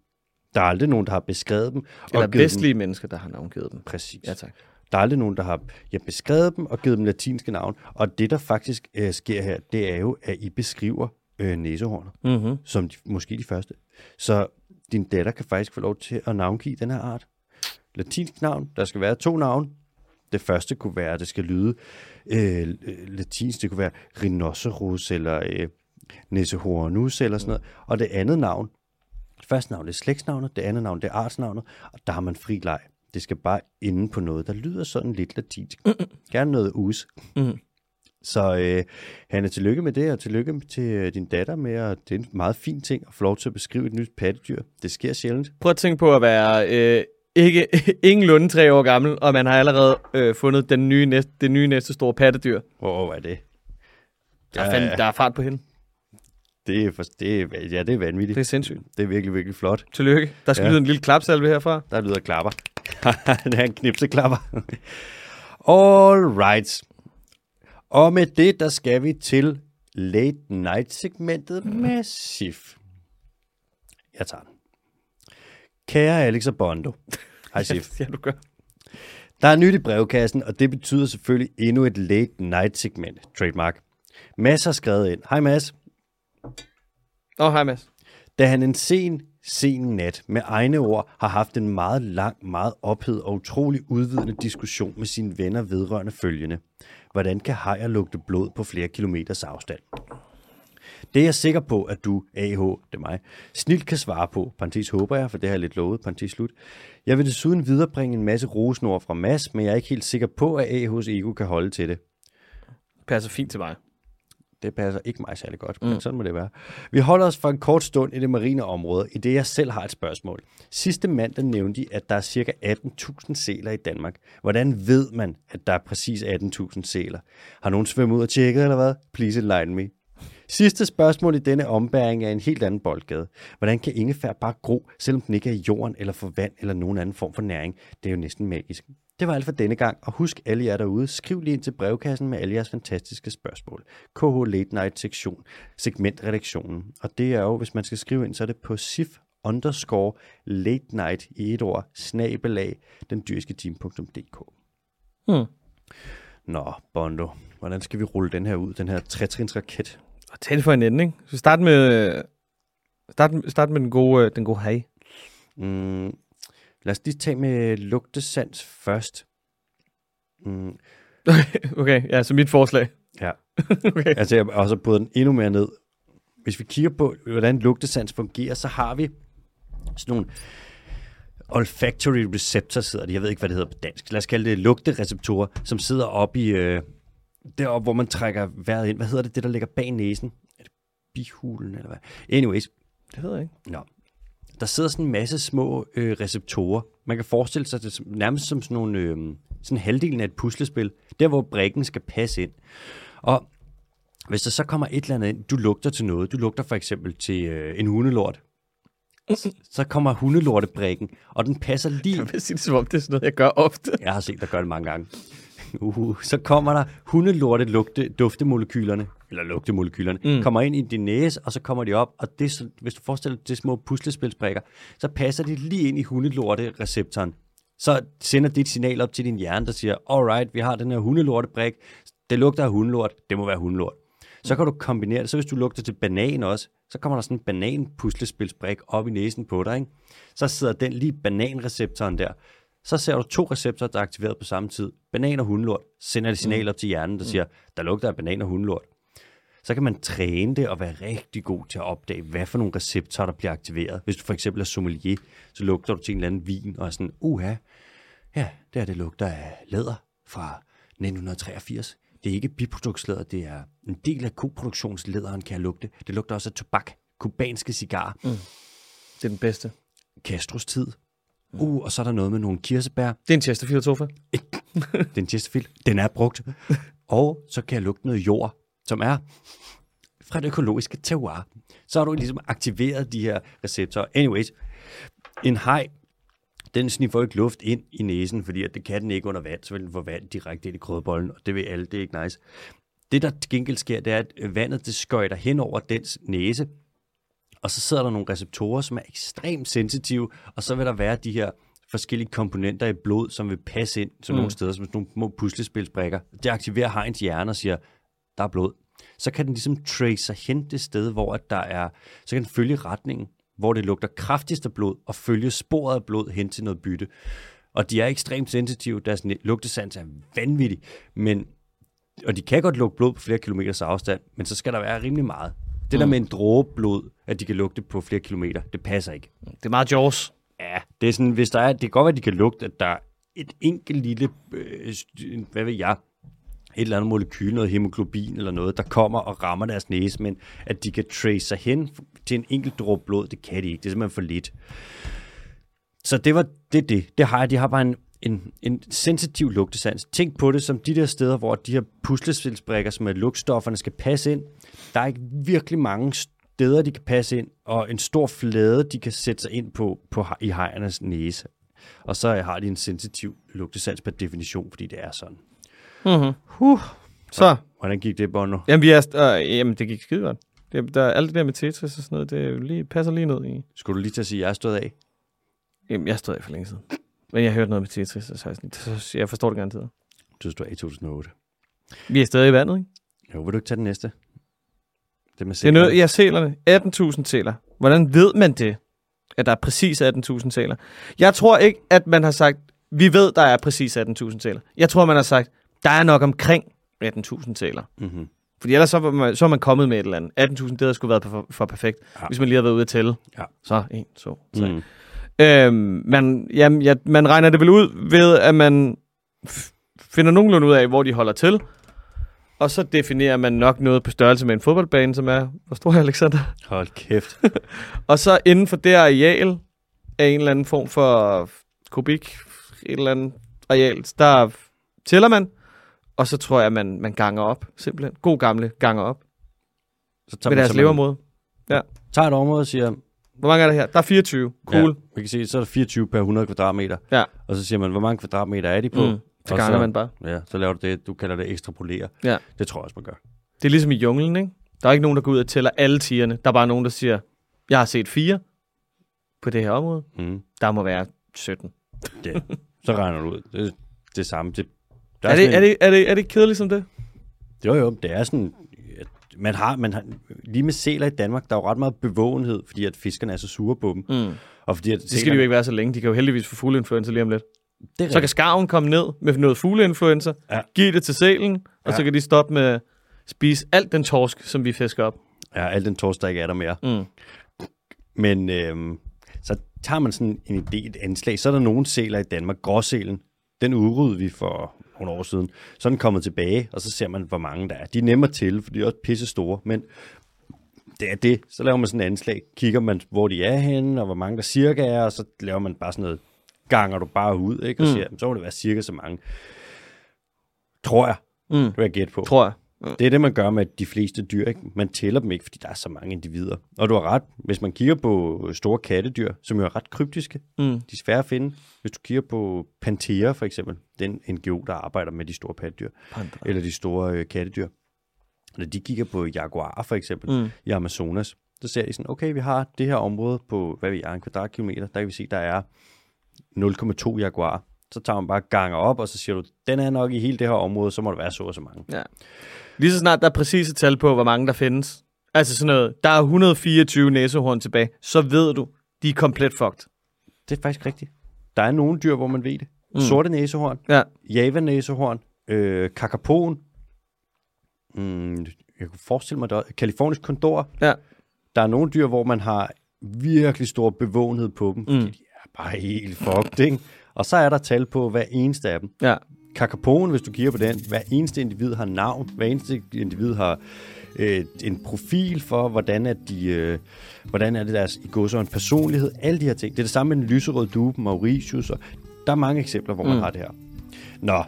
Der er aldrig nogen, der har beskrevet dem. Og Eller givet Dem, vestlige mennesker, der har navngivet dem. præcis. Ja, tak. Der er aldrig nogen, der har ja, beskrevet dem og givet dem latinske navn. Og det, der faktisk øh, sker her, det er jo, at I beskriver øh, næsehornet, Mm-hmm. som de, måske de første. Så din datter kan faktisk få lov til at navngive den her art. Latinsk navn, der skal være to navn. Det første kunne være, at det skal lyde øh, øh, latinsk, det kunne være rhinoceros eller øh, næsehornus eller sådan noget. Og det andet navn, det første navn det er slægtsnavnet, det andet navn det er artsnavnet, og der har man fri leg. Det skal bare inde på noget, der lyder sådan lidt latinsk. Gerne noget us. Så øh, Hanne, tillykke med det, og tillykke til øh, din datter med, at det er en meget fin ting at få lov til at beskrive et nyt pattedyr. Det sker sjældent. Prøv at tænke på at være øh, ikke, ingenlunde tre år gammel, og man har allerede øh, fundet den nye næste, det nye næste store pattedyr. Hvor er det? Der er, fandme, der er fart på hende. Det er, for, det er, ja, det er vanvittigt. Det er sindssygt. Det er virkelig, virkelig flot. Tillykke. Der skal Ja. lyde en lille klapsalve herfra. Der lyder klapper. det er en knipseklapper. All right. Og med det, der skal vi til late night segmentet med Sif. Jeg tager den. Kære Alex og Bondo. Hej Sif. Ja, du gør. Der er nyt i brevkassen, og det betyder selvfølgelig endnu et late night segment. Trademark. Mads har skrevet ind. Hej Mads. Åh, oh, hej Mads. Da han en sen sen nat med egne ord har haft en meget lang, meget ophedet og utrolig udvidende diskussion med sine venner vedrørende følgende. Hvordan kan hajer lugte blod på flere kilometers afstand? Det er jeg sikker på, at du, AH, det er mig, snilt kan svare på. Parenthes håber jeg, for det har jeg lidt lovet. Parenthes slut. Jeg vil desuden viderebringe en masse rosenord fra Mads, men jeg er ikke helt sikker på, at AH's ego kan holde til det. Passer fint til mig. Det passer ikke mig særlig godt, men mm. sådan må det være. Vi holder os for en kort stund i det marine område, i det jeg selv har et spørgsmål. Sidste mandag nævnte de, at der er ca. 18.000 sæler i Danmark. Hvordan ved man, at der er præcis 18.000 sæler? Har nogen svømmet ud og tjekket, eller hvad? Please enlighten me. Sidste spørgsmål i denne ombæring er en helt anden boldgade. Hvordan kan ingefær bare gro, selvom den ikke er i jorden eller får vand eller nogen anden form for næring? Det er jo næsten magisk. Det var alt for denne gang, og husk alle jer derude, skriv lige ind til brevkassen med alle jeres fantastiske spørgsmål. KH Late Night sektion, segmentredaktionen. Og det er jo, hvis man skal skrive ind, så er det på sif underscore late night i et ord, snabelag, den dyrske Hmm. Nå, Bondo, hvordan skal vi rulle den her ud, den her trætrins raket? Og tag det for en ende, ikke? Så start med, øh, start, start med den gode, øh, den gode hej. Mm, lad os lige tage med lugtesans først. Mm, okay, ja, så mit forslag. ja. okay. Altså, jeg har også brudt den endnu mere ned. Hvis vi kigger på, hvordan lugtesans fungerer, så har vi sådan nogle olfactory receptors, hedder det. Jeg ved ikke, hvad det hedder på dansk. Lad os kalde det lugtereceptorer, som sidder oppe i... Øh, deroppe, hvor man trækker vejret ind. Hvad hedder det, det der ligger bag næsen? Er det bihulen, eller hvad? Anyways, Det ved jeg ikke. Nå. Der sidder sådan en masse små øh, receptorer. Man kan forestille sig det som, nærmest som sådan, nogle, øh, sådan halvdelen af et puslespil. Der, hvor brikken skal passe ind. Og hvis der så kommer et eller andet ind, du lugter til noget. Du lugter for eksempel til øh, en hundelort. S- Så kommer hundelortebrikken, og den passer lige... Jeg vil sige det, som om det er sådan noget, jeg gør ofte. Jeg har set dig gøre det mange gange. Uh, så kommer der hundelorte lugte, duftemolekylerne, eller lugtemolekylerne, mm. kommer ind i din næse, og så kommer de op, og det, er så- hvis du forestiller dig det er små puslespilsbrikker, så passer de lige ind i hundelorte-receptoren. Så sender det et signal op til din hjerne, der siger, alright, vi har den her hundelortebrik, det lugter af hundelort, det må være hundelort. Så kan du kombinere det, så hvis du lugter til banan også, så kommer der sådan en banan-puslespilsbrik op i næsen på dig, ikke? så sidder den lige i bananreceptoren der. Så ser du to receptorer, der er aktiveret på samme tid. Banan og hundelort. Sender det signal op til hjernen, der siger, der lugter af banan og hundelort. Så kan man træne det og være rigtig god til at opdage, hvad for nogle receptorer, der bliver aktiveret. Hvis du for eksempel er sommelier, så lugter du til en eller anden vin og er sådan, uha, ja, det her det lugter af læder fra 1983. Det er ikke biproduktslæder, det er en del af koproduktionslæderen, kan jeg lugte. Det lugter også af tobak, kubanske cigarer, Det er den bedste. Castros tid. Uh, og så er der noget med nogle kirsebær. Det er en Chesterfield sofa. Den Chesterfield, den er brugt. Og så kan jeg lugte noget jord, som er fra det økologiske terroir. Så har du ligesom aktiveret de her receptorer. Anyways, en haj, den sniffer jo ikke luft ind i næsen, fordi at det kan den ikke under vand, så vil den få vand direkte ind i krødbollen, og det vil alle, det er ikke nice. Det, der til gengæld sker, det er, at vandet det skøjter hen over dens næse, og så sidder der nogle receptorer, som er ekstremt sensitive, og så vil der være de her forskellige komponenter i blod, som vil passe ind til mm. nogle steder, som sådan nogle små puslespilsbrikker. Det aktiverer hejens hjerne og siger, der er blod. Så kan den ligesom trace sig hen det sted, hvor at der er, så kan den følge retningen, hvor det lugter kraftigst af blod, og følge sporet af blod hen til noget bytte. Og de er ekstremt sensitive, deres ne- lugtesans er vanvittig, men og de kan godt lugte blod på flere kilometers afstand, men så skal der være rimelig meget. Det der med en dråbe blod, at de kan lugte på flere kilometer, det passer ikke. Det er meget Jaws. Ja, det er sådan, hvis der er, det kan godt være, at de kan lugte, at der er et enkelt lille, øh, st- hvad ved jeg, et eller andet molekyl, noget hemoglobin eller noget, der kommer og rammer deres næse, men at de kan trace sig hen til en enkelt dråbe blod, det kan de ikke. Det er simpelthen for lidt. Så det var det, er det. Det har jeg. De har bare en, en, en sensitiv lugtesans. Tænk på det som de der steder, hvor de her puslespilsbrikker, som er lugtstofferne, skal passe ind. Der er ikke virkelig mange steder, de kan passe ind, og en stor flade, de kan sætte sig ind på, på ha- i hajernes næse. Og så har de en sensitiv lugtesans per definition, fordi det er sådan. Så, Hvordan gik det, Bono? jamen, vi er, st- øh, jamen det gik skide godt. Det, der, alt det der med Tetris og sådan noget, det er jo lige, passer lige ned i. Skulle du lige til at sige, at jeg er stået af? Jamen, jeg stod af for længe siden. Men jeg hørte noget med Tetris, og så er jeg sådan, "Det- jeg forstår det garanteret. Du stod af i 2008. Vi er stadig i vandet, ikke? Jo, vil du ikke tage den næste? Det med Det er noget, ja, sælerne. 18.000 sæler. Hvordan ved man det? at der er præcis 18.000 sæler. Jeg tror ikke, at man har sagt, vi ved, der er præcis 18.000 sæler. Jeg tror, man har sagt, der er nok omkring 18.000 sæler. Mm-hmm. Fordi ellers så var man, så var man kommet med et eller andet. 18.000, det havde sgu været for, for perfekt, Ja. ja. hvis man lige havde været ude at tælle. Ja. Så en, to, tre. Mm. Øhm, man, jamen, ja, man regner det vel ud ved, at man f- finder nogenlunde ud af, hvor de holder til. Og så definerer man nok noget på størrelse med en fodboldbane, som er, hvor stor er Alexander? Hold kæft. Og så inden for det areal af en eller anden form for kubik, et eller andet areal, der tæller man. Og så tror jeg, man, man ganger op, simpelthen. God gamle ganger op Så med deres så levermåde. tager et område og siger, Hvor mange er der her? Der er 24. Cool. ja, man kan sige, så er der 24 per 100 kvadratmeter. Ja. Og så siger man, hvor mange kvadratmeter er de på? Ja. Mm. Så Og ganger man bare. Ja, så laver du det, du kalder det ekstrapolere. Ja. Det tror jeg også, man gør. Det er ligesom i junglen, ikke? Der er ikke nogen, der går ud og tæller alle tierne. Der er bare nogen, der siger, jeg har set fire på det her område. Mm. Der må være 17. Det. Så regner du ud. Det, det samme. Det, der Er sådan det, er, en- det, er, det, er det kedeligt som det? Jo, jo, det er sådan... at Man har, man har, lige med sæler i Danmark, der er jo ret meget bevågenhed, fordi at fiskerne er så sure på dem. Mm. Og fordi at Det skal de jo ikke være så længe. De kan jo heldigvis få fugleinfluenza lige om lidt. Det er Så kan skarven komme ned med noget fugleinfluenza, Ja. ja. give det til selen, og Ja. så kan de stoppe med at spise alt den torsk, som vi fisker op. Ja, al den torsk, der ikke er der mere. Mm. Men øhm, så tager man sådan en idé, et anslag. Så er der nogle sæler i Danmark. Gråsælen, den udryddede vi for nogle år siden. Så er den kommet tilbage, og så ser man, hvor mange der er. De er nemme at tælle, for de er også pisse store, men det er det. Så laver man sådan et anslag, kigger man, hvor de er henne, og hvor mange der cirka er, og så laver man bare sådan noget, ganger du bare ud, ikke? og mm. siger, "Jamen, så må det være cirka så mange. Tror jeg, Mm. det vil jeg gætte på. Tror jeg. Det er det, man gør med de fleste dyr. Ikke? Man tæller dem ikke, fordi der er så mange individer. Og du har ret. Hvis man kigger på store kattedyr, som jo er ret kryptiske, Mm. de er svære at finde. Hvis du kigger på Pantera for eksempel, den NGO, der arbejder med de store pattedyr, Pantera. eller de store øh, kattedyr. Når de kigger på jaguarer for eksempel mm. Mm. i Amazonas, så ser de sådan, okay, vi har det her område på, hvad ved jeg, en kvadratkilometer, der kan vi se, der er 0,2 jaguarer. Så tager man bare ganger op, og så siger du, den er nok i hele det her område, så må der være så og så mange. Ja. Lige så snart der er præcise tal på, hvor mange der findes, altså sådan noget, der er 124 næsehorn tilbage, så ved du, de er komplet fucked. Det er faktisk rigtigt. Der er nogle dyr, hvor man ved det. Mm. Sorte næsehorn, Ja. javanæsehorn, øh, kakapoen. Mm, jeg kunne forestille mig, der er kalifornisk kondor. ja. Der er nogle dyr, hvor man har virkelig stor bevågenhed på dem, mm. fordi de er bare helt fucked, ikke? Og så er der tal på hver eneste af dem. Ja. Kakapoen, hvis du kigger på den, hver eneste individ har navn, hver eneste individ har øh, en profil for, hvordan er, de, øh, hvordan er det deres i gods en personlighed, alle de her ting. Det er det samme med den lyserøde due, Mauritius, og der er mange eksempler, hvor man har det her. Nå,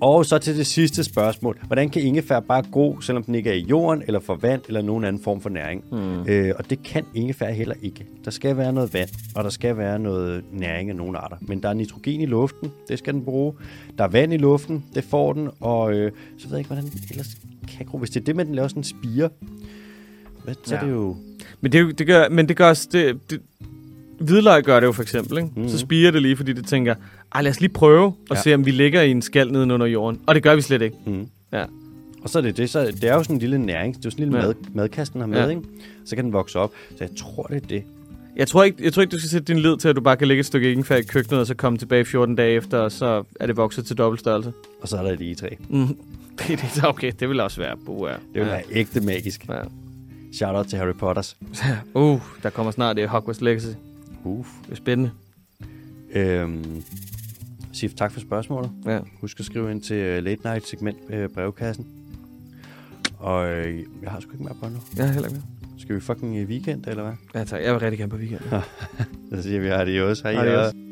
og så til det sidste spørgsmål. Hvordan kan ingefær bare gro, selvom den ikke er i jorden, eller får vand, eller nogen anden form for næring? Mm. Øh, og det kan ingefær heller ikke. Der skal være noget vand, og der skal være noget næring af nogle arter. Men der er nitrogen i luften, det skal den bruge. Der er vand i luften, det får den. Og øh, så ved jeg ikke, hvordan den ellers kan gro. Hvis det er det med, at den laver sådan en spire, hvad, så ja. er Ja. det jo... Men det, er jo- det gør, men det gør også, det, det, hvidløg gør det jo for eksempel, ikke? Mm. så spiger det lige, fordi det tænker, Ej, lad os lige prøve at Ja. ja. se, om vi ligger i en skald nede under jorden. Og det gør vi slet ikke. Mm. Ja. Og så er det det, så det er jo sådan en lille næring, det er jo sådan en Ja. lille mad, madkast, den har med, ja. Ja. ikke? Så kan den vokse op. Så jeg tror, det er det. Jeg tror, ikke, jeg tror ikke, du skal sætte din lid til, at du bare kan lægge et stykke ingefær i køkkenet, og så komme tilbage 14 dage efter, og så er det vokset til dobbelt størrelse. Og så er der et egetræ. Mm. Det, det, okay, det vil også være. Uh, Det vil være ægte magisk. ja. Shout out til Harry Potters. uh, der kommer snart det Hogwarts Legacy. Uf. Det er spændende. Øhm, Sif, tak for spørgsmålet. Ja. Husk at skrive ind til øh, Late Night segment øh, brevkassen. Og øh, jeg har sgu ikke mere på nu. Jeg er heller ikke Skal vi fucking i weekend, eller hvad? Ja, tak. Jeg vil rigtig gerne på weekend. Så siger vi, har det også. Hej, Adios. adios.